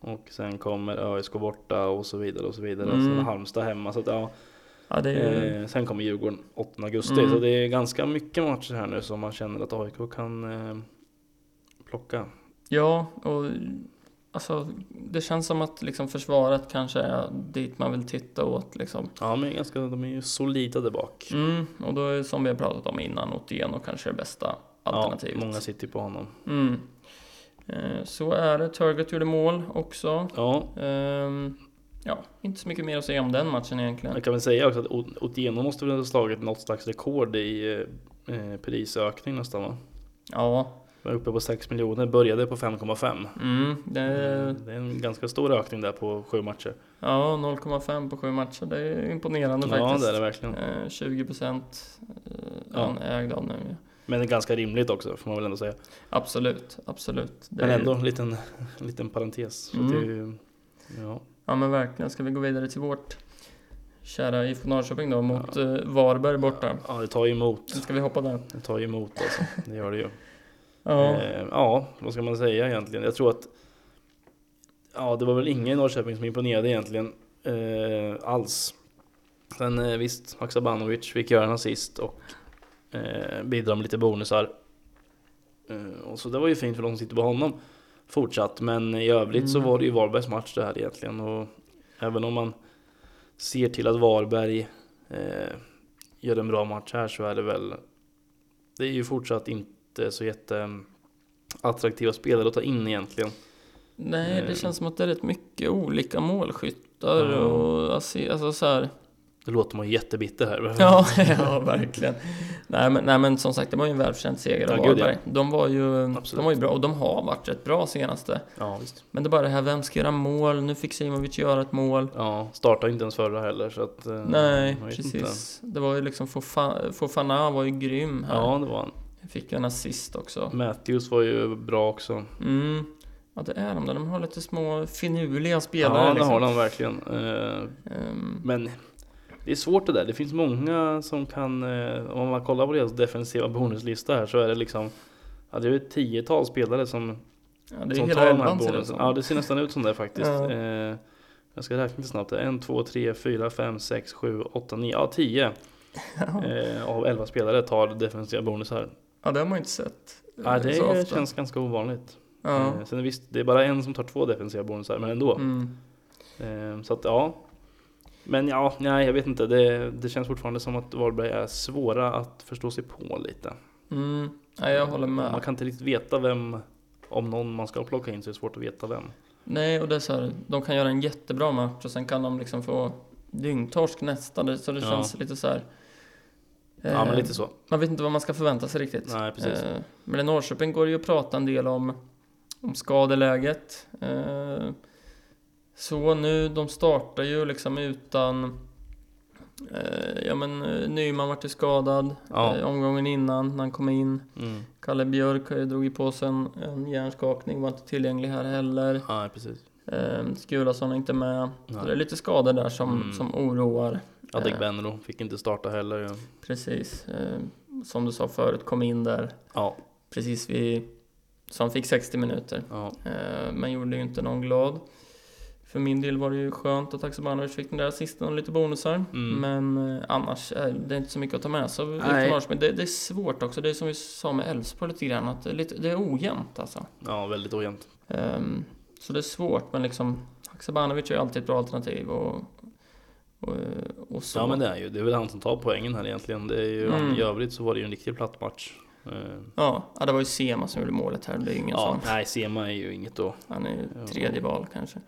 Speaker 1: och sen kommer ÖSK borta och så vidare och så vidare.
Speaker 2: Mm.
Speaker 1: Sen Halmstad hemma. Så att, ja,
Speaker 2: Ja, det är ju...
Speaker 1: Eh, sen kommer Djurgården 8 augusti,
Speaker 2: Mm.
Speaker 1: så det är ganska mycket matcher här nu som man känner att AIK kan eh, plocka.
Speaker 2: Ja, och alltså, det känns som att liksom försvaret kanske är dit man vill titta åt. Liksom.
Speaker 1: Ja, men ganska, de är ju solida där bak.
Speaker 2: Mm, och då är som vi har pratat om innan, Otieno kanske är det bästa alternativet.
Speaker 1: Ja, många sitter ju på honom.
Speaker 2: mm. eh, så är det. Turgut gjorde mål också.
Speaker 1: Ja,
Speaker 2: Ehm, ja, inte så mycket mer att säga om den matchen egentligen.
Speaker 1: jag kan väl säga också att O- Otieno måste väl ha slagit något slags rekord i eh, prisökning nästan va?
Speaker 2: Ja,
Speaker 1: Var uppe på 6 miljoner, började på 5,5.
Speaker 2: mm, det
Speaker 1: Eh,
Speaker 2: är,
Speaker 1: Det är en ganska stor ökning där på sju matcher.
Speaker 2: ja 0,5 på sju matcher. Det är imponerande
Speaker 1: Ja,
Speaker 2: faktiskt.
Speaker 1: det är det verkligen.
Speaker 2: Eh, 20 procent
Speaker 1: Ja.
Speaker 2: han är ägd av nu.
Speaker 1: Men det är ganska rimligt också, får man väl ändå säga.
Speaker 2: Absolut, absolut. Det
Speaker 1: Men
Speaker 2: är-
Speaker 1: ändå, en liten, liten parentes. Så
Speaker 2: Mm.
Speaker 1: det är ju, ja.
Speaker 2: Ja men verkligen. Ska vi gå vidare till vårt kära IFK Norrköping då mot eh, Varberg borta?
Speaker 1: Ja, det tar ju emot.
Speaker 2: Ska vi hoppa där?
Speaker 1: Det tar ju emot alltså. Det gör det ju.
Speaker 2: Ja.
Speaker 1: Eh, ja, vad ska man säga egentligen? Jag tror att Ja, det var väl ingen i Norrköping som imponerade egentligen eh, alls. Sen eh, visst, Haksabanovic fick göra en assist och eh, bidra med lite bonusar. Eh, och så det var ju fint för de som sitter på honom fortsatt. Men i övrigt så
Speaker 2: Mm.
Speaker 1: var det ju Varbergs match det här egentligen. Och även om man ser till att Varberg eh, gör en bra match här så är det väl Det är ju fortsatt inte så jätte eh, attraktiva spelare att ta in egentligen.
Speaker 2: Nej, det
Speaker 1: eh.
Speaker 2: känns som att det är rätt mycket olika målskyttar
Speaker 1: Ja.
Speaker 2: och alltså, alltså så här.
Speaker 1: Det låter man ju jättebitter här.
Speaker 2: Ja, ja verkligen. Nej men, nej men som sagt, det var ju en välförtjänt seger av
Speaker 1: Ja, gud, ja.
Speaker 2: Varberg. De var ju, de
Speaker 1: Absolut.
Speaker 2: var ju bra och de har varit rätt bra senaste.
Speaker 1: ja visst.
Speaker 2: Men det är bara det här, vem ska göra mål? Nu fick Simovic göra ett mål.
Speaker 1: Ja, startade inte ens förra heller så att... eh,
Speaker 2: Nej,
Speaker 1: jag vet inte.
Speaker 2: precis. Det var ju liksom Fofa- Fofana var ju grym här.
Speaker 1: Ja, det var han.
Speaker 2: Fick ju en assist också.
Speaker 1: Matthews var ju bra också.
Speaker 2: Mm. Ja, det är de där. De har lite små finurliga spelare.
Speaker 1: ja, det
Speaker 2: liksom.
Speaker 1: har de verkligen. Eh,
Speaker 2: Ehm,
Speaker 1: Men det är svårt det där. Det finns många som kan... eh, Om man kollar på deras defensiva bonuslista här så är det liksom... Ja, det är ju ett tiotal spelare som,
Speaker 2: ja, det är
Speaker 1: som
Speaker 2: hela
Speaker 1: tar de här
Speaker 2: elvan ser det ut
Speaker 1: bonusen. Ja,
Speaker 2: som.
Speaker 1: det ser nästan ut som det faktiskt.
Speaker 2: Ja.
Speaker 1: Eh, Jag ska räkna lite snabbt. 1, 2, 3, 4, 5, 6, 7, 8, 9. Ja, 10. eh, av 11 spelare tar defensiva bonusar.
Speaker 2: Ja, det har man ju inte sett. eh,
Speaker 1: Ja, det
Speaker 2: så ofta.
Speaker 1: känns ganska ovanligt.
Speaker 2: Ja.
Speaker 1: Eh, sen visst, det är bara en som tar två defensiva bonusar, men ändå.
Speaker 2: Mm.
Speaker 1: Eh, så att ja. Men ja, nej jag vet inte. Det, det känns fortfarande som att Varberg är svåra att förstå sig på lite.
Speaker 2: Mm. Ja, jag håller
Speaker 1: Man
Speaker 2: med.
Speaker 1: kan inte riktigt veta vem, om någon man ska plocka in så är det svårt att veta vem.
Speaker 2: Nej, och det är så här, de kan göra en jättebra match och sen kan de liksom få dyngtorsk nästa. Det- Så det
Speaker 1: Ja.
Speaker 2: känns lite så här.
Speaker 1: Ja
Speaker 2: eh,
Speaker 1: men lite så.
Speaker 2: Man vet inte vad man ska förvänta sig riktigt.
Speaker 1: Nej precis.
Speaker 2: Eh, Men i Norrköping går det ju att prata en del om, om skadeläget. Eh, Så nu, de startar ju liksom utan Eh, ja men eh, Nyman vart ju skadad
Speaker 1: Ja.
Speaker 2: eh, omgången innan när han kom in.
Speaker 1: Mm.
Speaker 2: Kalle Björk eh, drog ju på sig en, en hjärnskakning, var inte tillgänglig här heller.
Speaker 1: Ja, precis.
Speaker 2: Eh, Skulason är inte med.
Speaker 1: Nej.
Speaker 2: Så det är lite skador där som,
Speaker 1: Mm.
Speaker 2: som oroar.
Speaker 1: Adegbenro fick inte starta heller. ja.
Speaker 2: Precis. Eh, som du sa förut, kom in där
Speaker 1: Ja,
Speaker 2: precis vid... Så han fick 60 minuter.
Speaker 1: ja.
Speaker 2: Eh, men gjorde ju inte någon glad. För min del var det ju skönt att Haksabanovic fick den där assisten och lite bonusar.
Speaker 1: Mm.
Speaker 2: Men eh, annars, eh, det är inte så mycket att ta med sig av-
Speaker 1: Nej.
Speaker 2: från Norrköping. Det, det är svårt också, det är som vi sa med Elfsborg lite grann, att det är, lite, det är ojämnt alltså.
Speaker 1: ja väldigt ojämnt.
Speaker 2: Ehm, så det är svårt, men liksom Haksabanovic är ju alltid ett bra alternativ och, och, och så.
Speaker 1: Ja men det är ju, det är väl han som tar poängen här egentligen. Det är ju,
Speaker 2: Mm.
Speaker 1: I övrigt så var det ju en riktig platt match. Eh,
Speaker 2: Ja, ja, det var ju Sema som gjorde målet här, det är ju ingen
Speaker 1: ja,
Speaker 2: sån.
Speaker 1: nej Sema är ju inget då.
Speaker 2: Han är
Speaker 1: Ja.
Speaker 2: ju tredje val kanske.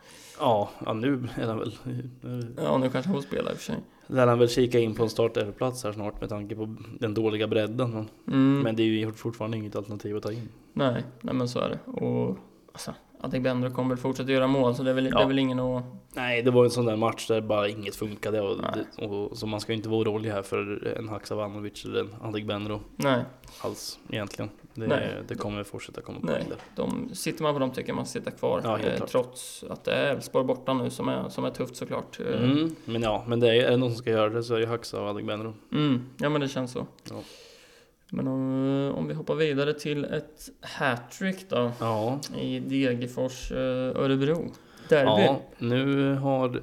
Speaker 1: Ja, ja nu är han väl... nu
Speaker 2: Ja, nu kanske han får spela i och för sig.
Speaker 1: Lär han väl kika in på en startelverplats här snart med tanke på den dåliga bredden. Men,
Speaker 2: Mm.
Speaker 1: men det är ju fortfarande inget alternativ att ta in.
Speaker 2: Nej, nej men så är det. Och alltså, Adegbenro kommer väl fortsätta göra mål, så det är väl, det
Speaker 1: Ja.
Speaker 2: är väl ingen att...
Speaker 1: Nej, det var en sån där match där bara inget funkade. Och,
Speaker 2: Nej.
Speaker 1: det- och, så man ska ju inte vara orolig här för en Haksabanovic eller en Adegbenro
Speaker 2: Nej,
Speaker 1: alls egentligen. Det,
Speaker 2: Nej.
Speaker 1: det kommer fortsätta komma
Speaker 2: Nej.
Speaker 1: poäng där.
Speaker 2: de, sitter man på dem tycker jag man ska sitta kvar. eh,
Speaker 1: Ja, helt klart.
Speaker 2: trots att det är Elfsborg borta nu som är, som är tufft såklart. Eh,
Speaker 1: Mm, men ja, men det är, är det någon som ska göra det så är det ju Haksa och Adegbenro.
Speaker 2: Mm, ja men det känns så.
Speaker 1: Ja.
Speaker 2: Men om, om vi hoppar vidare till ett hattrick då
Speaker 1: Ja,
Speaker 2: i Degerfors eh, Örebro. Derby.
Speaker 1: ja, nu har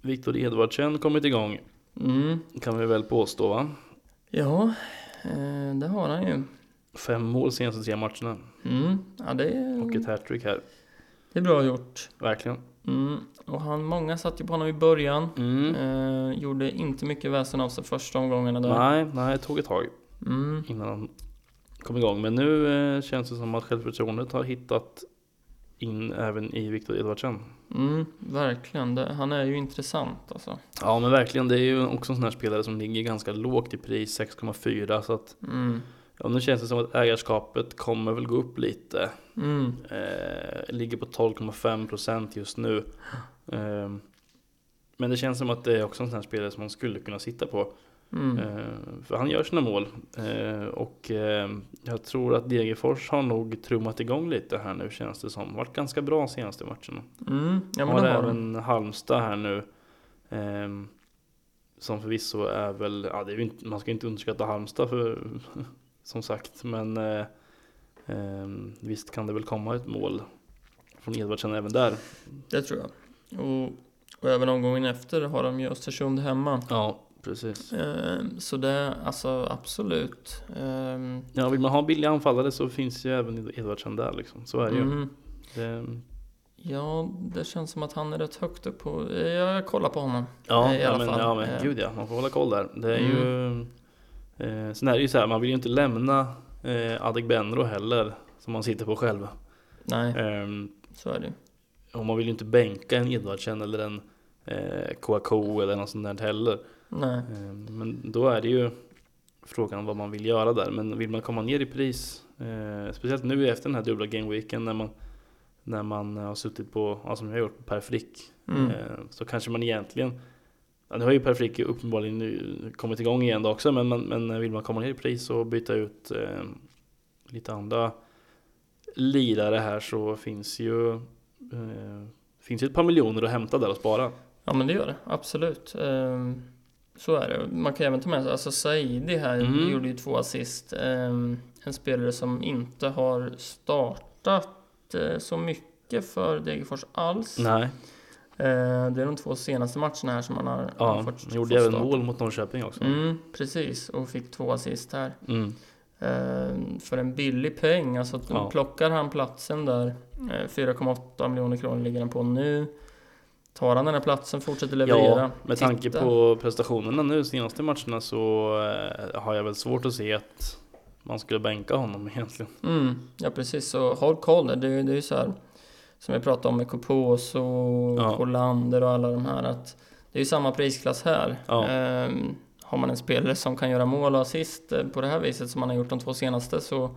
Speaker 1: Viktor Edvardsen kommit igång
Speaker 2: Mm.
Speaker 1: kan vi väl påstå va?
Speaker 2: Ja, eh, det har han ju.
Speaker 1: Fem mål senaste tre matcherna
Speaker 2: Mm. Ja, det, är,
Speaker 1: och ett hattrick här.
Speaker 2: det är bra gjort.
Speaker 1: Verkligen.
Speaker 2: Mm. Och han, många satt ju på honom i början.
Speaker 1: Mm.
Speaker 2: Eh, gjorde inte mycket väsen av sig första omgångarna där.
Speaker 1: Nej, nej, det tog ett tag
Speaker 2: Mm.
Speaker 1: innan han kom igång. Men nu eh, känns det som att självförtroendet har hittat in även i Viktor Edvardsen.
Speaker 2: Mm, verkligen. Det, han är ju intressant alltså.
Speaker 1: Ja men verkligen, det är ju också en sån här spelare som ligger ganska lågt i pris, 6,4. Så att
Speaker 2: Mm.
Speaker 1: ja, nu känns det som att ägarskapet kommer väl gå upp lite.
Speaker 2: Mm.
Speaker 1: Eh, ligger på 12,5% just nu. Eh, men det känns som att det är också en sån här spelare som man skulle kunna sitta på.
Speaker 2: Mm.
Speaker 1: Eh, för han gör sina mål. Eh, och eh, jag tror att Degerfors har nog trummat igång lite här nu känns det som. Varit ganska bra senaste matcherna.
Speaker 2: Mm. Ja, men
Speaker 1: har
Speaker 2: det har han.
Speaker 1: även Halmstad här nu. ehm, som förvisso är väl, ja, det är ju inte, man ska ju inte underskatta Halmstad för, som sagt. Men eh, ehm, visst kan det väl komma ett mål från Edvardsen även där.
Speaker 2: Det tror jag. Och, och även omgången efter har de ju Östersund hemma.
Speaker 1: Ja, precis.
Speaker 2: Eh, så det, alltså absolut. Eh,
Speaker 1: Ja, vill man ha billiga anfallare så finns ju även Edvardsen där liksom. Så är det ju.
Speaker 2: mm.
Speaker 1: Det,
Speaker 2: Ja, det känns som att han är rätt högt upp på... eh, Jag kollar på honom.
Speaker 1: Ja,
Speaker 2: i
Speaker 1: ja,
Speaker 2: alla
Speaker 1: men,
Speaker 2: fall.
Speaker 1: ja men
Speaker 2: Eh. Mm.
Speaker 1: gud ja, man får hålla koll där. Det är ju... Eh, sen är det ju så här, man vill ju inte lämna eh, Adegbenro heller, som man sitter på själv.
Speaker 2: Nej,
Speaker 1: Ehm,
Speaker 2: så är det ju.
Speaker 1: och man vill ju inte bänka en Edvardsen eller en eh, Kouakou eller något sånt där heller.
Speaker 2: Nej.
Speaker 1: Ehm, men då är det ju frågan vad man vill göra där. Men vill man komma ner i pris, eh, speciellt nu efter den här dubbla gameweeken när man, när man eh, har suttit på, ja, som jag har gjort, på Per Frick
Speaker 2: Mm.
Speaker 1: Eh, Så kanske man egentligen ja, Nu har ju Per Frick uppenbarligen nu kommit igång igen då också men, men, men vill man komma ner i pris och byta ut eh, lite andra lirare här så finns ju eh, Finns ju ett par miljoner att hämta där och spara.
Speaker 2: Ja, men det gör det. Absolut. Ehm, så är det. Man kan även ta med sig, alltså Saidi här
Speaker 1: Mm.
Speaker 2: gjorde ju två assist. Ehm, en spelare som inte har startat eh, så mycket för Degerfors alls.
Speaker 1: Nej,
Speaker 2: Ehm, det är de två senaste matcherna här som han har, har
Speaker 1: ja,
Speaker 2: fått,
Speaker 1: han gjorde
Speaker 2: fått
Speaker 1: även
Speaker 2: start.
Speaker 1: mål mot Norrköping också.
Speaker 2: Mm, precis, och fick två assist här.
Speaker 1: Mm.
Speaker 2: Ehm, för en billig peng, alltså att
Speaker 1: Ja.
Speaker 2: plockar han platsen där, eh, 4,8 miljoner kronor ligger han på nu. Tar han den här platsen, fortsätter leverera.
Speaker 1: Ja, med
Speaker 2: titta.
Speaker 1: tanke på prestationerna nu senaste matcherna så eh, har jag väl svårt att se att man skulle bänka honom egentligen.
Speaker 2: Mm, ja precis, så håll koll. Det, är- det är ju så här som vi pratade om med Kopos och
Speaker 1: Ja.
Speaker 2: Hollander och alla de här att det är ju samma prisklass här.
Speaker 1: Ja.
Speaker 2: Ehm, har man en spelare som kan göra mål och assist eh, på det här viset som han har gjort de två senaste så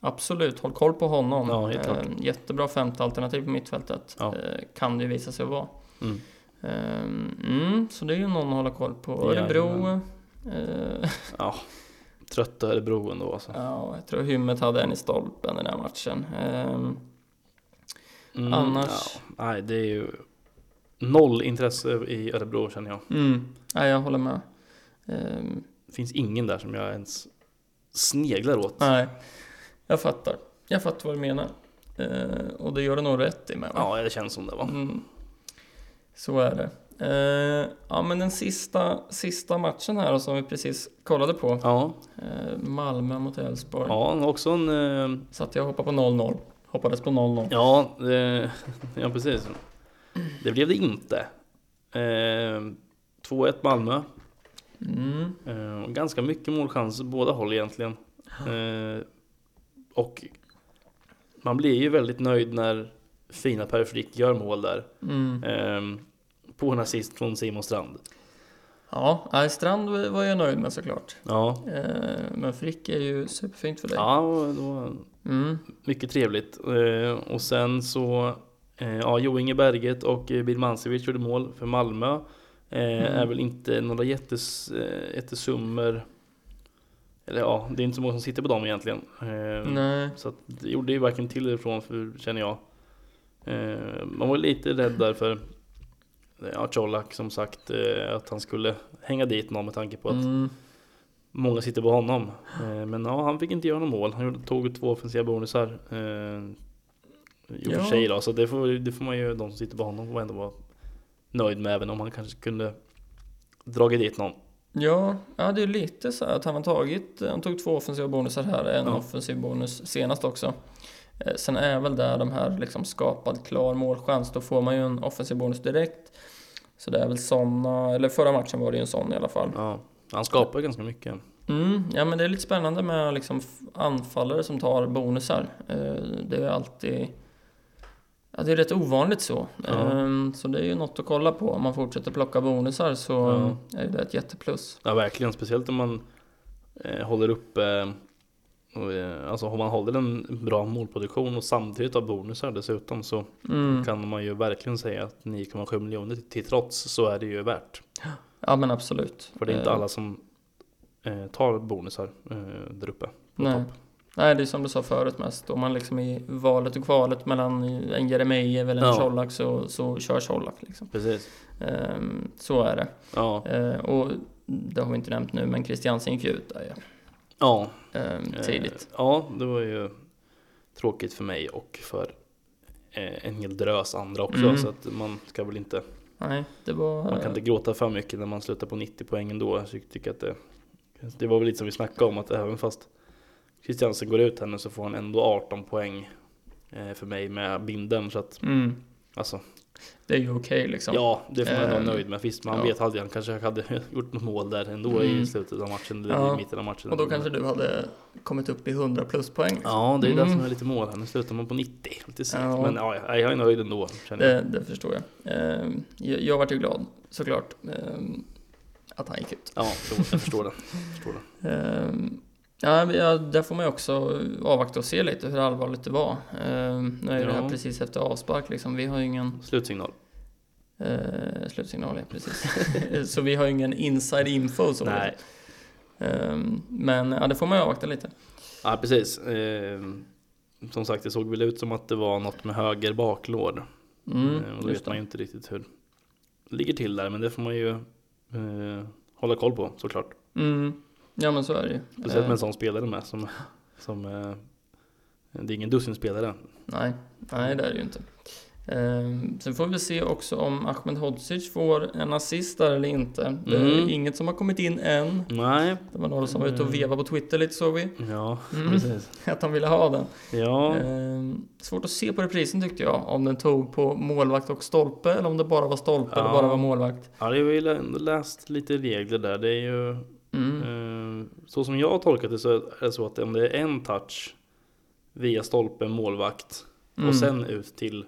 Speaker 2: absolut, håll koll på honom.
Speaker 1: Ja, helt klart.
Speaker 2: Ehm, jättebra femte alternativ på mittfältet
Speaker 1: Ja.
Speaker 2: eh, kan det ju visa sig vara.
Speaker 1: Mm.
Speaker 2: Ehm, Mm, så det är ju någon att hålla koll på. Örebro.
Speaker 1: Jajamän.
Speaker 2: eh,
Speaker 1: Ja, trötta Örebro ändå alltså.
Speaker 2: Ja, jag tror Hymmet hade en i stolpen den där matchen. Ehm,
Speaker 1: Mm,
Speaker 2: Annars-
Speaker 1: ja, nej, det är ju noll intresse i Örebro känner jag.
Speaker 2: Mm, ja, jag håller med. Ehm,
Speaker 1: Det finns ingen där som jag ens sneglar åt.
Speaker 2: Nej, jag fattar. Jag fattar vad du menar. Eh, och det gör du nog rätt i med. va?
Speaker 1: Ja, det känns som det va.
Speaker 2: Mm. Så är det. Eh, ja, men den sista, sista matchen här då, som vi precis kollade på.
Speaker 1: Ja,
Speaker 2: Eh, Malmö mot Elfsborg.
Speaker 1: ja också en... eh,
Speaker 2: Satt jag och hoppade på 0-0. Hoppades på 0-0.
Speaker 1: Ja, det, ja precis. Det blev det inte. Eh, 2-1 Malmö.
Speaker 2: Mm.
Speaker 1: Eh, och ganska mycket målchanser båda håll egentligen. Eh, och man blir ju väldigt nöjd när fina Per Frick gör mål där.
Speaker 2: Mm.
Speaker 1: Eh, på en assist från Simon Strand.
Speaker 2: Ja, nej, Strand var jag nöjd med såklart.
Speaker 1: Ja,
Speaker 2: Eh, men Frick är ju superfint för dig.
Speaker 1: ja och det var
Speaker 2: Mm.
Speaker 1: mycket trevligt. Eh, och sen så, eh, ja, Jo Inge Berget och eh, Bill Mancevic gjorde mål för Malmö. Eh, Är väl inte några jättes, eh, jättesummor. Eller ja, det är inte så många som sitter på dem egentligen. Eh,
Speaker 2: Nej.
Speaker 1: Så att det gjorde ju varken till eller ifrån för, känner jag. Eh, man var lite rädd där för ja, Colak som sagt eh, att han skulle hänga dit någon med tanke på att
Speaker 2: Mm.
Speaker 1: många sitter på honom. Eh, men ja, han fick inte göra något mål. Han gjorde, tog två offensiva bonusar. Eh, I och
Speaker 2: Ja.
Speaker 1: för sig då, så det får, det får man ju, de som sitter på honom, får ändå vara nöjd med. Även om han kanske kunde dragit dit någon.
Speaker 2: Ja, ja, det är lite så här att han har tagit, han tog två offensiva bonusar här, en
Speaker 1: Ja.
Speaker 2: offensiv bonus senast också. Eh, Sen är väl där de här liksom skapad klar målchans, då får man ju en offensiv bonus direkt. Så det är väl såna, eller förra matchen var det ju en sån i alla fall.
Speaker 1: Ja. Han skapar ganska mycket.
Speaker 2: Mm, ja men det är lite spännande med liksom f- anfallare som tar bonusar. Eh, Det är alltid, ja det är rätt ovanligt så.
Speaker 1: Ja.
Speaker 2: Eh, Så det är ju något att kolla på. Om man fortsätter plocka bonusar så
Speaker 1: Ja.
Speaker 2: är ju det ett jätteplus.
Speaker 1: Ja verkligen, speciellt om man eh, håller uppe eh, Alltså om man håller en bra målproduktion och samtidigt har bonusar dessutom så
Speaker 2: Mm.
Speaker 1: kan man ju verkligen säga att 9,7 miljoner till trots så är det ju värt.
Speaker 2: Ja men absolut.
Speaker 1: För det är inte
Speaker 2: Eh,
Speaker 1: alla som eh, tar bonusar eh, där uppe. på
Speaker 2: nej.
Speaker 1: topp.
Speaker 2: nej, det är som du sa förut mest. Om man liksom i valet och kvalet mellan en Jeremejeff eller en
Speaker 1: Ja.
Speaker 2: Colak så, så kör Colak liksom.
Speaker 1: Precis.
Speaker 2: Ehm, så är det.
Speaker 1: Ja,
Speaker 2: Ehm, och det har vi inte nämnt nu, men Christiansen gick ju ut där ju.
Speaker 1: ja.
Speaker 2: Ehm,
Speaker 1: eh,
Speaker 2: tidigt.
Speaker 1: Ja, det var ju tråkigt för mig och för eh, en hel drös andra också.
Speaker 2: Mm.
Speaker 1: Så att man ska väl inte
Speaker 2: Nej, det var...
Speaker 1: Man kan inte gråta för mycket när man slutar på 90 poäng ändå. Så jag tycker att det, det var väl lite som vi snackade om att även fast Christiansen går ut här nu så får han ändå 18 poäng eh, för mig med binden Så att
Speaker 2: Mm,
Speaker 1: alltså,
Speaker 2: det är ju okej liksom.
Speaker 1: ja, det får man ändå
Speaker 2: Ehm,
Speaker 1: vara nöjd med. Visst, man
Speaker 2: ja.
Speaker 1: vet aldrig, han kanske hade gjort något mål där ändå
Speaker 2: Mm.
Speaker 1: i slutet av matchen eller
Speaker 2: Ja,
Speaker 1: i mitten av matchen.
Speaker 2: och då kanske du hade kommit upp i 100 plus poäng. Liksom.
Speaker 1: Ja, det är det
Speaker 2: Mm.
Speaker 1: som är lite mål här. Nu slutar man på 90. Lite segt.
Speaker 2: Ja. Eh.
Speaker 1: Men ja, jag jag är nöjd ändå. Känner jag.
Speaker 2: Det, det förstår jag. Ehm, jag. Jag vart ju glad, såklart, ehm, att han gick ut.
Speaker 1: Ja, så, jag förstår det. Jag förstår det.
Speaker 2: Ehm, Ja, men ja, där får man ju också avvakta och se lite hur allvarligt det var. Ehm, nu är ju det här
Speaker 1: Ja.
Speaker 2: precis efter avspark liksom. Vi har ju ingen
Speaker 1: Slutsignal.
Speaker 2: eh, slutsignal, ja, precis. så vi har ju ingen inside info. Så
Speaker 1: Nej,
Speaker 2: Ehm, men ja, det får man ju avvakta lite.
Speaker 1: Ja, precis. Eh, som sagt, det såg väl ut som att det var något med höger baklår.
Speaker 2: Mm,
Speaker 1: eh, och då
Speaker 2: just
Speaker 1: vet
Speaker 2: det.
Speaker 1: man ju inte riktigt hur det ligger till där, men det får man ju eh, hålla koll på såklart.
Speaker 2: Mm, ja, men så är det ju.
Speaker 1: Speciellt med
Speaker 2: Ehm,
Speaker 1: en sån spelare med som, som eh, det är ingen dussinspelare.
Speaker 2: Nej, nej det är det ju inte. Ehm, sen får vi se också om Ahmed Hodzic får en assist där eller inte. Det är
Speaker 1: Mm.
Speaker 2: inget som har kommit in än.
Speaker 1: Nej,
Speaker 2: Det var några som var ute och
Speaker 1: Mm.
Speaker 2: vevade på Twitter lite såg vi.
Speaker 1: ja,
Speaker 2: Mm.
Speaker 1: precis.
Speaker 2: Att han ville ha den.
Speaker 1: Ja,
Speaker 2: Ehm, svårt att se på reprisen tyckte jag. Om den tog på målvakt och stolpe eller om det bara var stolpe eller
Speaker 1: Ja.
Speaker 2: bara var målvakt.
Speaker 1: ja, jag har ju lä- läst lite regler där. Det är ju,
Speaker 2: Mm.
Speaker 1: eh, så som jag har tolkat det så är det så att om det är en touch via stolpen, målvakt,
Speaker 2: Mm.
Speaker 1: Och sen ut till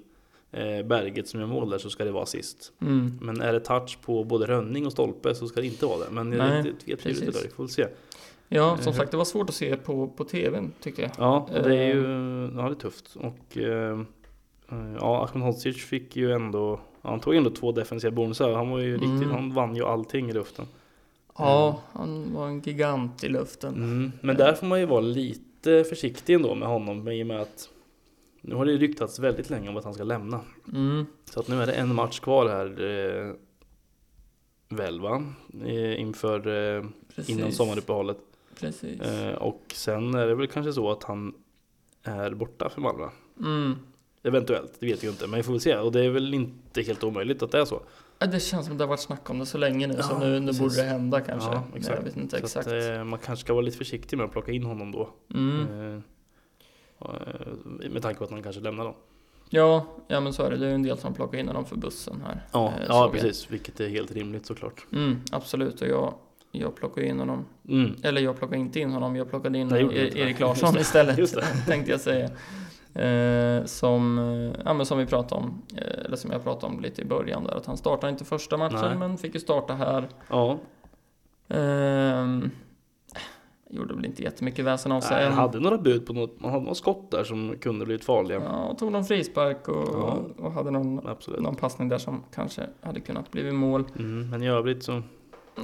Speaker 1: eh, berget som är mål där så ska det vara sist.
Speaker 2: Mm.
Speaker 1: Men är det touch på både rönning och stolpe så ska det inte vara det. Men jag
Speaker 2: Nej,
Speaker 1: är inte vet
Speaker 2: precis.
Speaker 1: det där, vi får väl se.
Speaker 2: Ja,
Speaker 1: Eh,
Speaker 2: som sagt det var svårt att se på, på TVn tyckte jag.
Speaker 1: Ja, det är ju
Speaker 2: Eh.
Speaker 1: ja, det är tufft. Och eh, eh, ja, Ahmed Hodzic fick ju ändå Ja, han tog ändå två defensiva bonusar. Han var ju
Speaker 2: Mm.
Speaker 1: riktigt, han vann ju allting i luften.
Speaker 2: Ja, han var en gigant i luften.
Speaker 1: Mm. Men där får man ju vara lite försiktig ändå med honom i och med att nu har det ju ryktats väldigt länge om att han ska lämna.
Speaker 2: Mm.
Speaker 1: Så att nu är det en match kvar här eh, väl va? Eh, inför eh,
Speaker 2: Precis.
Speaker 1: innan sommaruppehållet.
Speaker 2: Precis.
Speaker 1: Eh, och sen är det väl kanske så att han är borta för Malmö.
Speaker 2: Mm.
Speaker 1: Eventuellt, det vet vi ju inte. Men vi får väl se. Och det är väl inte helt omöjligt att det är så.
Speaker 2: Ja, det känns som att det har varit snack om det så länge nu, så
Speaker 1: Ja,
Speaker 2: nu, nu
Speaker 1: precis.
Speaker 2: borde det hända kanske.
Speaker 1: Ja,
Speaker 2: Men
Speaker 1: exakt.
Speaker 2: Jag vet inte exakt.
Speaker 1: Så att, eh, man kanske ska vara lite försiktig med att plocka in honom då.
Speaker 2: Mm.
Speaker 1: Eh, och, eh, med tanke på att man kanske lämnar dem.
Speaker 2: Ja, ja, men så är det. Det är ju en del som plockar in honom för bussen här.
Speaker 1: Ja,
Speaker 2: eh,
Speaker 1: ja
Speaker 2: såg jag.
Speaker 1: precis. Vilket är helt rimligt såklart.
Speaker 2: Mm, absolut, och jag, jag plockar in honom.
Speaker 1: Mm.
Speaker 2: Eller jag plockade inte in honom, jag plockade in
Speaker 1: Nej, gjorde du
Speaker 2: E-
Speaker 1: inte.
Speaker 2: Erik
Speaker 1: Just
Speaker 2: Larsson
Speaker 1: det.
Speaker 2: istället.
Speaker 1: Just
Speaker 2: Tänkte jag säga. Eh, som, eh, ja, men som vi pratade om, eh, eller som jag pratade om lite i början där, att han startade inte första matchen
Speaker 1: Nej.
Speaker 2: men fick ju starta här.
Speaker 1: Ja,
Speaker 2: Ehm, gjorde väl inte jättemycket väsen av sig
Speaker 1: Nej,
Speaker 2: än.
Speaker 1: han Eh, hade några bud på något. Man hade några skott där som kunde blivit farliga.
Speaker 2: Ja, och tog någon frispark och,
Speaker 1: Ja.
Speaker 2: och hade någon,
Speaker 1: Absolut.
Speaker 2: någon passning där som kanske hade kunnat bli mål.
Speaker 1: Mm, men i övrigt så,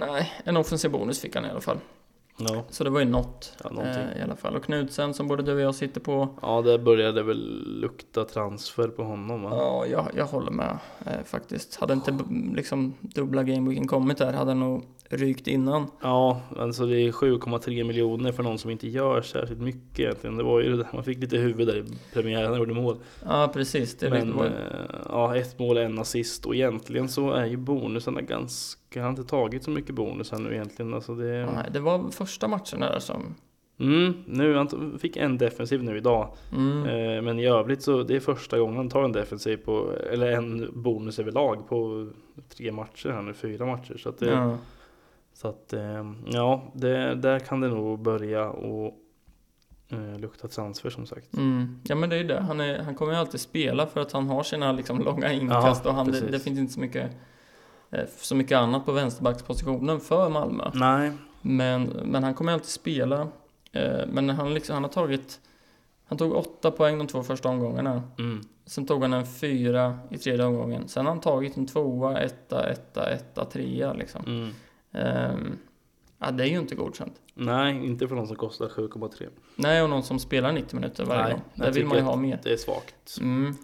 Speaker 2: Nej, en offensiv bonus fick han i alla fall.
Speaker 1: ja.
Speaker 2: Så det var ju något
Speaker 1: Ja, någonting.
Speaker 2: eh, i alla fall. Och Knutsen som både du och jag sitter på.
Speaker 1: Ja, där började det väl lukta transfer på honom va?
Speaker 2: Ja, jag, jag håller med eh, faktiskt. Hade inte b- liksom dubbla gameweeken kommit där hade han nog rykt innan.
Speaker 1: Ja, alltså det är 7,3 miljoner för någon som inte gör särskilt mycket egentligen. Det var ju det där, man fick lite huvud där i premiären och gjorde mål.
Speaker 2: Ja, precis. Det
Speaker 1: Men
Speaker 2: var,
Speaker 1: eh, ja, ett mål, en assist och egentligen så är ju bonusarna ganska... Han har inte tagit så mycket bonusar nu egentligen. Alltså det,
Speaker 2: nej, det var första matchen där som...
Speaker 1: mm, nu, han to- fick en defensiv nu idag.
Speaker 2: Mm,
Speaker 1: Eh, Men i övrigt så det är första gången han tar en defensiv på, eller en bonus överlag på tre matcher här nu, fyra matcher. Så att det,
Speaker 2: ja.
Speaker 1: så att, eh, ja det, där kan det nog börja och eh, lukta transfer som sagt.
Speaker 2: Mm. ja, men det är ju det. Han, är, han kommer ju alltid spela för att han har sina liksom, långa inkast
Speaker 1: Ja,
Speaker 2: och han, det,
Speaker 1: precis.
Speaker 2: det finns inte så mycket, eh, så mycket annat på vänsterbackspositionen för Malmö.
Speaker 1: Nej,
Speaker 2: Men, men han kommer alltid spela. Eh, Men han, liksom, han har tagit... Han tog åtta poäng de två första omgångarna.
Speaker 1: mm.
Speaker 2: Sen tog han en fyra i tredje omgången. Sen har han tagit en tvåa, etta, etta, etta, trea liksom.
Speaker 1: Mm.
Speaker 2: Ehm, ja, det är ju inte godkänt.
Speaker 1: nej, inte för någon som kostar 7,3.
Speaker 2: Nej, och någon som spelar 90 minuter varje
Speaker 1: Nej,
Speaker 2: gång.
Speaker 1: jag
Speaker 2: Där vill
Speaker 1: tycker
Speaker 2: man ju
Speaker 1: att-
Speaker 2: ha mer.
Speaker 1: Det är svagt.
Speaker 2: Mm.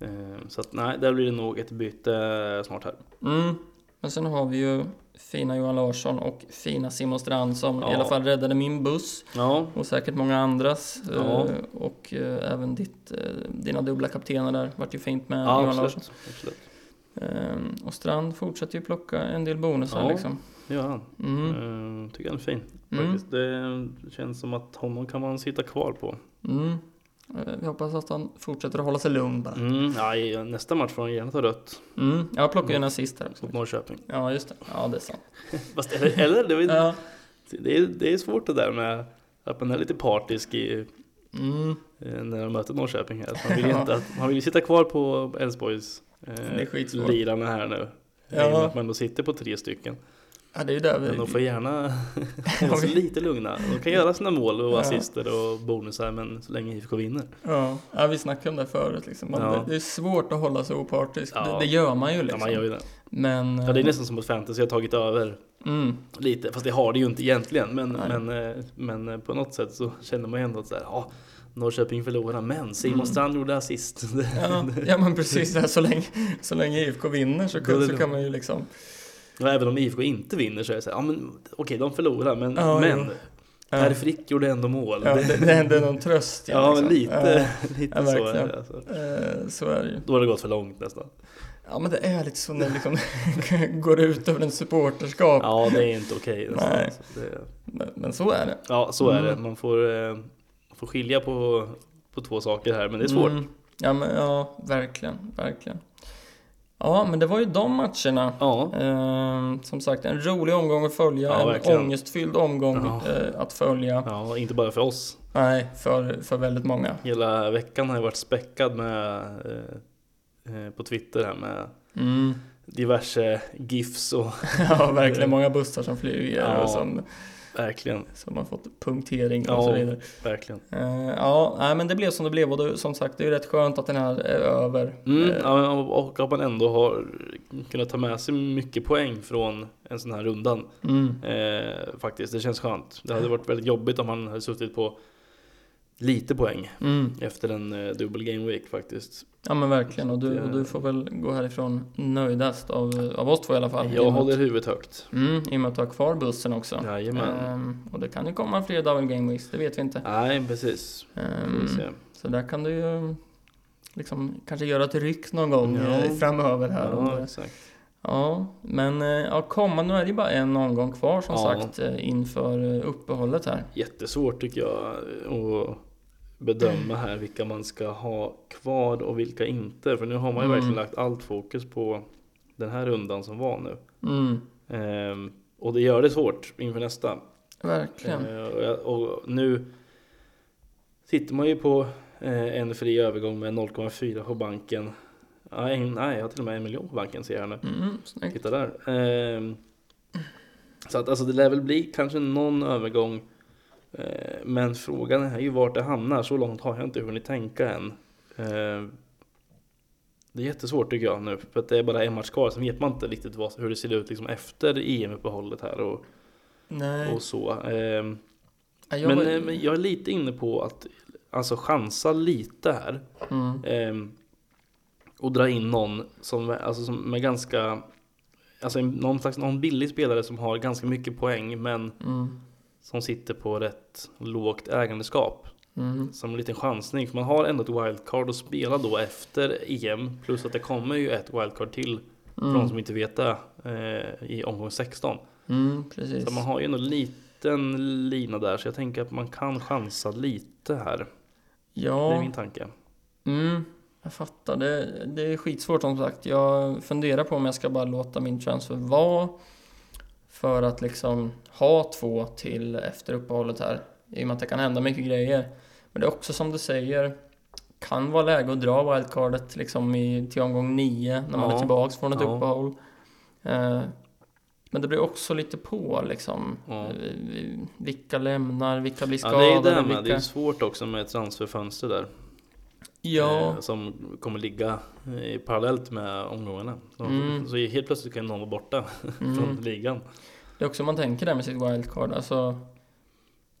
Speaker 1: Eh, Så att, nej, där blir det nog ett byte snart här.
Speaker 2: Mm. Men sen har vi ju fina Johan Larsson och fina Simon Strand som i
Speaker 1: Ja.
Speaker 2: alla fall räddade min buss.
Speaker 1: Ja,
Speaker 2: Och säkert många andras.
Speaker 1: Ja.
Speaker 2: eh, Och eh, även ditt, eh, dina dubbla kaptener där vart ju fint med
Speaker 1: ja
Speaker 2: Johan Larsson.
Speaker 1: absolut. absolut.
Speaker 2: Ehm, Och Strand fortsätter ju plocka en del bonusar
Speaker 1: Ja.
Speaker 2: liksom.
Speaker 1: Det gör han.
Speaker 2: Mm.
Speaker 1: Eh, Tycker han är fin.
Speaker 2: Mm.
Speaker 1: Faktiskt. Det känns som att honom kan man sitta kvar på.
Speaker 2: Mm. Eh, Vi hoppas att han fortsätter att hålla sig lugn bara.
Speaker 1: Mm, nej, nästa match får han gärna ta rött
Speaker 2: Mm. Jag plockar ju en assist där också.
Speaker 1: mot Norrköping.
Speaker 2: Ja, just det. Ja, det är sant.
Speaker 1: Fast, eller, eller det, är,
Speaker 2: Ja.
Speaker 1: det, är, det är svårt det där med att man är lite partisk i,
Speaker 2: Mm.
Speaker 1: eh, när de möter Norrköping. Här. Att Man vill ju inte att, man vill ju sitta kvar på Elfsborgs eh,
Speaker 2: Det är skitsvårt.
Speaker 1: lirarna här nu.
Speaker 2: Ja.
Speaker 1: Ja. Att man då sitter på tre stycken.
Speaker 2: ja, det är ju där
Speaker 1: Men de
Speaker 2: vi...
Speaker 1: får gärna hålla sig lite lugna. De kan göra sina mål och
Speaker 2: Ja.
Speaker 1: assister och bonusar men så länge IFK vinner.
Speaker 2: Ja. ja, vi snackade om det förut liksom. Man,
Speaker 1: Ja.
Speaker 2: det- Det är svårt att hålla sig opartisk.
Speaker 1: Ja.
Speaker 2: Det, det gör man ju
Speaker 1: Ja,
Speaker 2: liksom.
Speaker 1: man gör ju det.
Speaker 2: Men... eh,
Speaker 1: Ja, det är nästan som att fantasy har tagit över
Speaker 2: mm.
Speaker 1: lite, fast det har det ju inte egentligen. Men,
Speaker 2: Nej.
Speaker 1: men, eh, men eh, på något sätt så känner man ju ändå att så här, ja, Norrköping förlorar, men Simon
Speaker 2: Mm.
Speaker 1: Strand gjorde assist.
Speaker 2: Ja, ja men precis. Det här, så, länge, så länge IFK vinner så,
Speaker 1: Då är
Speaker 2: kan-
Speaker 1: det
Speaker 2: så kan
Speaker 1: lugnt.
Speaker 2: man ju liksom...
Speaker 1: Och även om IFK inte vinner så är det så här, ja men okej, de förlorar, men,
Speaker 2: Ja,
Speaker 1: men
Speaker 2: jo. Ja,
Speaker 1: Per Frick gjorde ändå mål.
Speaker 2: ja, det, det är någon tröst i,
Speaker 1: ja,
Speaker 2: liksom.
Speaker 1: men lite, lite
Speaker 2: ja,
Speaker 1: så är
Speaker 2: verkligen.
Speaker 1: det. Alltså.
Speaker 2: Ja, eh, så är det ju.
Speaker 1: Då har det gått för långt nästan.
Speaker 2: Ja, men det är lite så när det liksom går ut över en supporterskap.
Speaker 1: Ja, det är inte okej. nästan.
Speaker 2: Nej.
Speaker 1: Så det-
Speaker 2: Men, men så är det.
Speaker 1: ja, så är det.
Speaker 2: Mm.
Speaker 1: Man får, eh, får skilja på, på två saker här, men det är svårt.
Speaker 2: Mm. Ja, men ja, verkligen, verkligen. Ja, men det var ju de matcherna.
Speaker 1: Ja,
Speaker 2: Ehm, som sagt, en rolig omgång att följa,
Speaker 1: Ja,
Speaker 2: en
Speaker 1: verkligen.
Speaker 2: ångestfylld omgång
Speaker 1: Ja.
Speaker 2: eh, att följa.
Speaker 1: ja, inte bara för oss.
Speaker 2: Nej, för, för väldigt många.
Speaker 1: Hela veckan har jag varit späckad med eh, eh, på Twitter här med
Speaker 2: Mm.
Speaker 1: diverse GIFs och
Speaker 2: Ja, verkligen. Många bussar som flyger
Speaker 1: Ja.
Speaker 2: och som
Speaker 1: Verkligen,
Speaker 2: Som har fått punktering och
Speaker 1: Ja.
Speaker 2: så vidare.
Speaker 1: verkligen.
Speaker 2: Eh, ja, nej, men det blev som det blev och det, som sagt det är ju rätt skönt att den här är över.
Speaker 1: Mm,
Speaker 2: Eh,
Speaker 1: ja, men och och att man ändå har kunnat ta med sig mycket poäng från en sån här rundan.
Speaker 2: mm.
Speaker 1: Eh, faktiskt, det känns skönt. Det hade varit väldigt jobbigt om man hade suttit på lite poäng
Speaker 2: Mm.
Speaker 1: efter en eh, dubbel game week faktiskt.
Speaker 2: Ja men verkligen och du,
Speaker 1: Det-
Speaker 2: och du får väl gå härifrån nöjdast av, av oss två i alla fall. I och
Speaker 1: Jag
Speaker 2: med
Speaker 1: håller huvudet högt.
Speaker 2: att, mm, I och med att du har kvar bussen också.
Speaker 1: Jajamän.
Speaker 2: Ehm, och det kan ju komma fler double game weeks, det vet vi inte.
Speaker 1: Nej, precis. Får
Speaker 2: Ehm,
Speaker 1: vi se.
Speaker 2: så där kan du ju liksom kanske göra ett ryck någon gång
Speaker 1: Ja.
Speaker 2: eh, framöver här. om
Speaker 1: Ja,
Speaker 2: det-
Speaker 1: exakt.
Speaker 2: Ja, men eh, ja, komma, nu är det ju bara en omgång kvar som
Speaker 1: Ja.
Speaker 2: sagt eh, inför eh, uppehållet här.
Speaker 1: Jättesvårt tycker jag att bedöma här vilka man ska ha kvar och vilka inte. För nu har man ju
Speaker 2: Mm.
Speaker 1: verkligen lagt allt fokus på den här rundan som var nu.
Speaker 2: Mm,
Speaker 1: Ehm, och det gör det svårt inför nästa.
Speaker 2: verkligen.
Speaker 1: Eh, och, jag, och nu sitter man ju på eh, en fri övergång med 0,4 på banken. Ja, en, nej, jag har till och med en miljon på banken ser jag här nu.
Speaker 2: Mm, snyggt.
Speaker 1: Titta där. Ehm, så att alltså det lär väl bli kanske någon övergång. Eh, men frågan är ju vart det hamnar. Så långt har jag inte hunnit tänka än. Ehm, det är jättesvårt tycker jag nu. För att det är bara en match kvar. Sen vet man inte riktigt vad, hur det ser ut liksom efter EM-uppehållet här och,
Speaker 2: Nej,
Speaker 1: och så. Ehm,
Speaker 2: ja, jag
Speaker 1: men,
Speaker 2: var-
Speaker 1: eh, men jag är lite inne på att alltså, chansa lite här.
Speaker 2: Mm,
Speaker 1: Ehm, och dra in någon som, alltså, som med ganska, alltså en- någon slags någon billig spelare som har ganska mycket poäng men
Speaker 2: mm,
Speaker 1: som sitter på rätt lågt ägandeskap.
Speaker 2: mm,
Speaker 1: Som en liten chansning, för man har ändå ett wildcard att spela då efter EM. Plus att det kommer ju ett wildcard till, för de som
Speaker 2: mm,
Speaker 1: inte vet det, eh, i omgång 16.
Speaker 2: mm, precis.
Speaker 1: Så man har ju ändå en liten lina där, så jag tänker att man kan chansa lite här. Det är
Speaker 2: Ja,
Speaker 1: min tanke.
Speaker 2: mm, jag fattar. Det, det är skitsvårt som sagt. Jag funderar på om jag ska bara låta min transfer vara för att liksom ha två till efter uppehållet här. I och med att det kan hända mycket grejer. Men det är också som du säger, kan vara läge att dra wildcardet liksom i, till omgång nio när man
Speaker 1: Ja.
Speaker 2: är tillbaks från ett
Speaker 1: Ja.
Speaker 2: uppehåll. Eh, men det blir också lite på liksom.
Speaker 1: Ja.
Speaker 2: Eh, vi- Vilka lämnar, vilka blir
Speaker 1: Ja, det är ju
Speaker 2: skadade,
Speaker 1: det med.
Speaker 2: vilka...
Speaker 1: Det är ju svårt också med ett transferfönster där.
Speaker 2: Ja,
Speaker 1: eh, Som kommer ligga eh, parallellt med omgångarna. Så,
Speaker 2: Mm.
Speaker 1: så helt plötsligt kan någon vara borta från
Speaker 2: mm.
Speaker 1: ligan.
Speaker 2: det är också man tänker där med sitt wildcard. Alltså,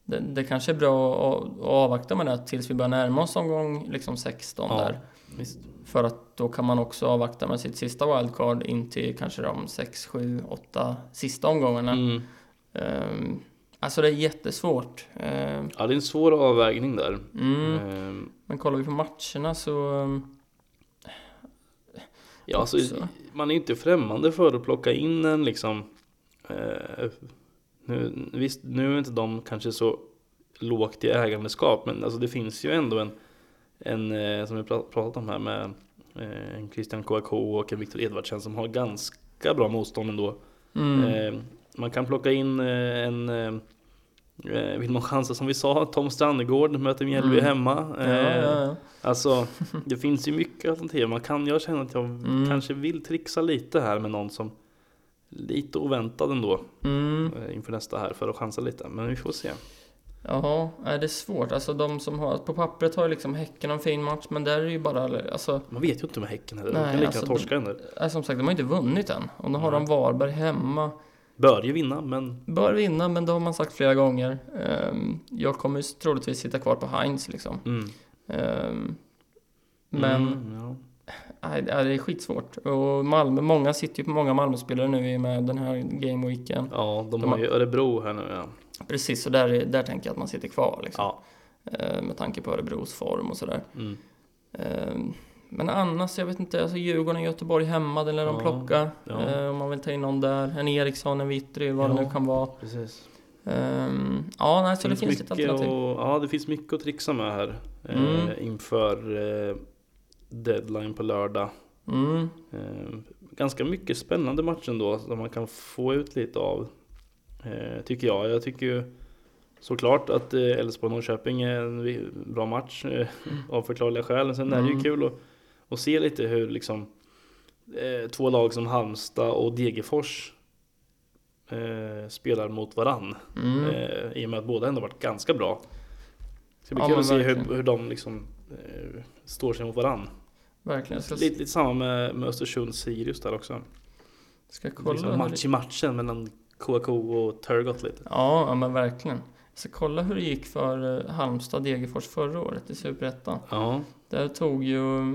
Speaker 2: det, det kanske är bra att, att avvakta med det tills vi börjar närma oss omgång liksom 16
Speaker 1: Ja.
Speaker 2: där.
Speaker 1: Visst.
Speaker 2: För att då kan man också avvakta med sitt sista wildcard in till kanske de 6, 7, 8 sista omgångarna.
Speaker 1: Mm.
Speaker 2: Ehm, alltså det är jättesvårt. Ehm,
Speaker 1: Ja, det är en svår avvägning där.
Speaker 2: mm.
Speaker 1: Ehm,
Speaker 2: Men kollar vi på matcherna så... ehm,
Speaker 1: Ja, alltså,
Speaker 2: Också.
Speaker 1: man är ju inte främmande för att plocka in en liksom. Eh, nu, visst, nu är inte de kanske så lågt i ägandeskap, men alltså, det finns ju ändå en, en eh, som vi pra- pratat om här med eh, en Christian Kouakou och en Viktor Edvardsen som har ganska bra motstånd ändå.
Speaker 2: Mm.
Speaker 1: Eh, man kan plocka in eh, en eh, vill man chansa som vi sa, Tom Strandegård möter Mjällby
Speaker 2: Mm.
Speaker 1: hemma.
Speaker 2: ja,
Speaker 1: Eh,
Speaker 2: ja, ja.
Speaker 1: Alltså, det finns ju mycket alternativ. Man kan, jag känner att jag
Speaker 2: Mm.
Speaker 1: kanske vill trixa lite här med någon som lite oväntad ändå
Speaker 2: Mm.
Speaker 1: eh, inför nästa här för att chansa lite. Men vi får se.
Speaker 2: Jaha, nej, det är svårt. Alltså de som har... På pappret har ju liksom Häcken en fin match, men där är det ju bara... Alltså,
Speaker 1: Man vet ju inte med Häcken heller.
Speaker 2: Nej,
Speaker 1: de kan lika
Speaker 2: alltså,
Speaker 1: gärna torska den där.
Speaker 2: eh, som sagt, de har ju inte vunnit än. Och nu har
Speaker 1: Nej.
Speaker 2: de Varberg hemma.
Speaker 1: Bör ju vinna, men
Speaker 2: Bör vinna, men det har man sagt flera gånger. Ehm, jag kommer ju troligtvis sitta kvar på Heinz liksom.
Speaker 1: mm.
Speaker 2: Ehm, men
Speaker 1: Mm, ja.
Speaker 2: nej, det är skitsvårt. Och Malmö, många sitter ju på många Malmöspelare nu i och med den här gameweeken.
Speaker 1: ja, de, har
Speaker 2: De har-
Speaker 1: ju Örebro här nu ja.
Speaker 2: Precis, så där, är- där tänker jag att man sitter kvar liksom.
Speaker 1: ja.
Speaker 2: Ehm, med tanke på Örebros form och sådär.
Speaker 1: Mm.
Speaker 2: Ehm, men annars, jag vet inte, alltså Djurgården och Göteborg hemma, den lär de
Speaker 1: Ja,
Speaker 2: plocka.
Speaker 1: ja.
Speaker 2: Ehm, om man vill ta in någon där, en Eriksson, en Witry, vad det
Speaker 1: Ja.
Speaker 2: nu kan vara.
Speaker 1: Precis.
Speaker 2: Ehm, ja, nej, så det finns lite
Speaker 1: mycket
Speaker 2: alternativ.
Speaker 1: och, ja, det finns mycket att trixa med här
Speaker 2: Mm.
Speaker 1: eh, inför eh, deadline på lördag.
Speaker 2: Mm,
Speaker 1: Eh, ganska mycket spännande match ändå som man kan få ut lite av. Eh, tycker jag. Jag tycker ju såklart att eh, Elfsborg Norrköping är en vi- bra match eh, av förklarliga skäl. Men sen är det ju
Speaker 2: Mm.
Speaker 1: kul att, att se lite hur liksom eh, två lag som Halmstad och Degerfors eh, spelar mot varann.
Speaker 2: Mm.
Speaker 1: Eh, I och med att båda ändå varit ganska bra. Det ska bli
Speaker 2: Ja,
Speaker 1: kul
Speaker 2: men
Speaker 1: att se hur,
Speaker 2: verkligen.
Speaker 1: hur de liksom eh, står sig mot varann.
Speaker 2: Verkligen. Jag ska,
Speaker 1: Lite, lite samma med, med Östersund-Sirius där också.
Speaker 2: ska kolla.
Speaker 1: Liksom
Speaker 2: hur det-
Speaker 1: match i matchen mellan KK och Turgot lite.
Speaker 2: Ja, ja, men verkligen. Jag ska kolla hur det gick för eh, Halmstad Degerfors förra året i Superettan.
Speaker 1: Ja,
Speaker 2: Där tog ju...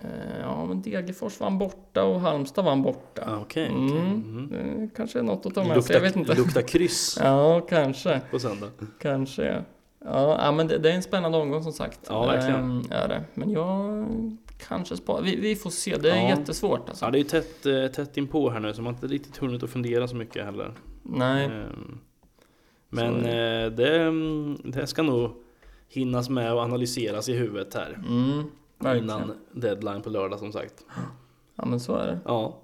Speaker 2: Eh, ja, men Degerfors vann borta och Halmstad vann borta.
Speaker 1: ah, okej.
Speaker 2: Mm.
Speaker 1: okej. Mm.
Speaker 2: Eh, kanske är något att ta med sig,
Speaker 1: Lukta,
Speaker 2: jag vet inte.
Speaker 1: lukta kryss
Speaker 2: Ja, kanske.
Speaker 1: på söndag.
Speaker 2: Kanske. Ja, ja men det, det är en spännande omgång som sagt.
Speaker 1: Ja, verkligen.
Speaker 2: Ehm, är det. Men jag kanske sparar. Vi, vi får se, det är
Speaker 1: Ja.
Speaker 2: jättesvårt alltså.
Speaker 1: Ja, det är ju tätt, eh, tätt inpå här nu så man har inte riktigt hunnit att fundera så mycket heller.
Speaker 2: Nej,
Speaker 1: Ehm, Men
Speaker 2: Så
Speaker 1: eh, det, mm, det ska nog hinnas med och analyseras i huvudet här.
Speaker 2: mm, verkligen.
Speaker 1: Innan deadline på lördag som sagt.
Speaker 2: Ja, men så är det.
Speaker 1: Ja.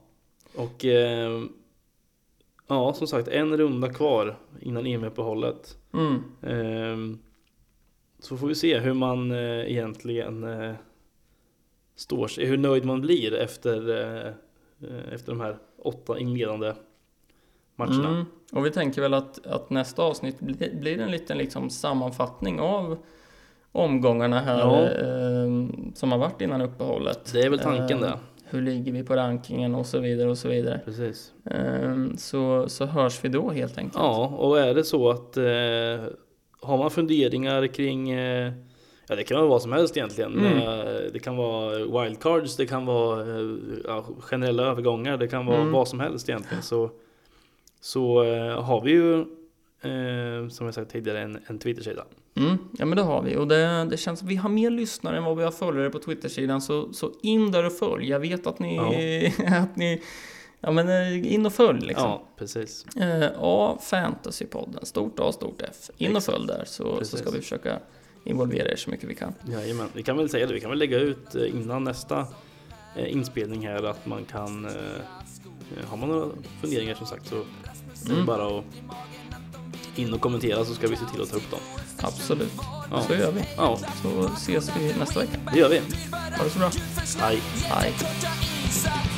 Speaker 1: Och eh, ja, som sagt en runda kvar innan EM-uppehållet.
Speaker 2: Mm.
Speaker 1: Ehm, Så får vi se hur man eh, egentligen eh, står sig, hur nöjd man blir efter, eh, eh, efter de här åtta inledande matcherna.
Speaker 2: Mm. Och vi tänker väl att, att nästa avsnitt blir, blir en liten liksom sammanfattning av omgångarna här
Speaker 1: Ja.
Speaker 2: eh, som har varit innan uppehållet.
Speaker 1: Det är väl tanken
Speaker 2: Eh,
Speaker 1: det.
Speaker 2: Hur ligger vi på rankingen och så vidare och så vidare.
Speaker 1: Precis.
Speaker 2: Eh, så, så hörs vi då helt enkelt.
Speaker 1: Ja, och är det så att eh, har man funderingar kring eh, Ja det kan vara vad som helst egentligen.
Speaker 2: Mm.
Speaker 1: Eh, Det kan vara wildcards, det kan vara eh, ja, generella övergångar, det kan vara
Speaker 2: Mm.
Speaker 1: vad som helst egentligen. Så, så eh, har vi ju eh, som jag sagt tidigare en, en Twitter-sida.
Speaker 2: Mm, ja men det har vi och det, det känns som vi har mer lyssnare än vad vi har följare på Twittersidan så, så in där och följ. Jag vet att ni... att ni ja men eh, in och följ liksom.
Speaker 1: Ja, precis.
Speaker 2: Eh, A Fantasypodden, stort A stort F. In och följ där så, så
Speaker 1: Precis.
Speaker 2: ska vi försöka involvera er så mycket vi kan.
Speaker 1: Jajamän. Vi kan väl säga det, vi kan väl lägga ut eh, innan nästa eh, inspelning här att man kan eh, eh, Har man några funderingar som sagt så det är
Speaker 2: Mm.
Speaker 1: bara att in och kommentera så ska vi se till att ta upp dem.
Speaker 2: Absolut,
Speaker 1: Ja.
Speaker 2: så gör vi.
Speaker 1: Ja,
Speaker 2: Så ses vi nästa vecka.
Speaker 1: det gör vi.
Speaker 2: Ha det så bra.
Speaker 1: Hej.
Speaker 2: Hej.
Speaker 3: touch her inside.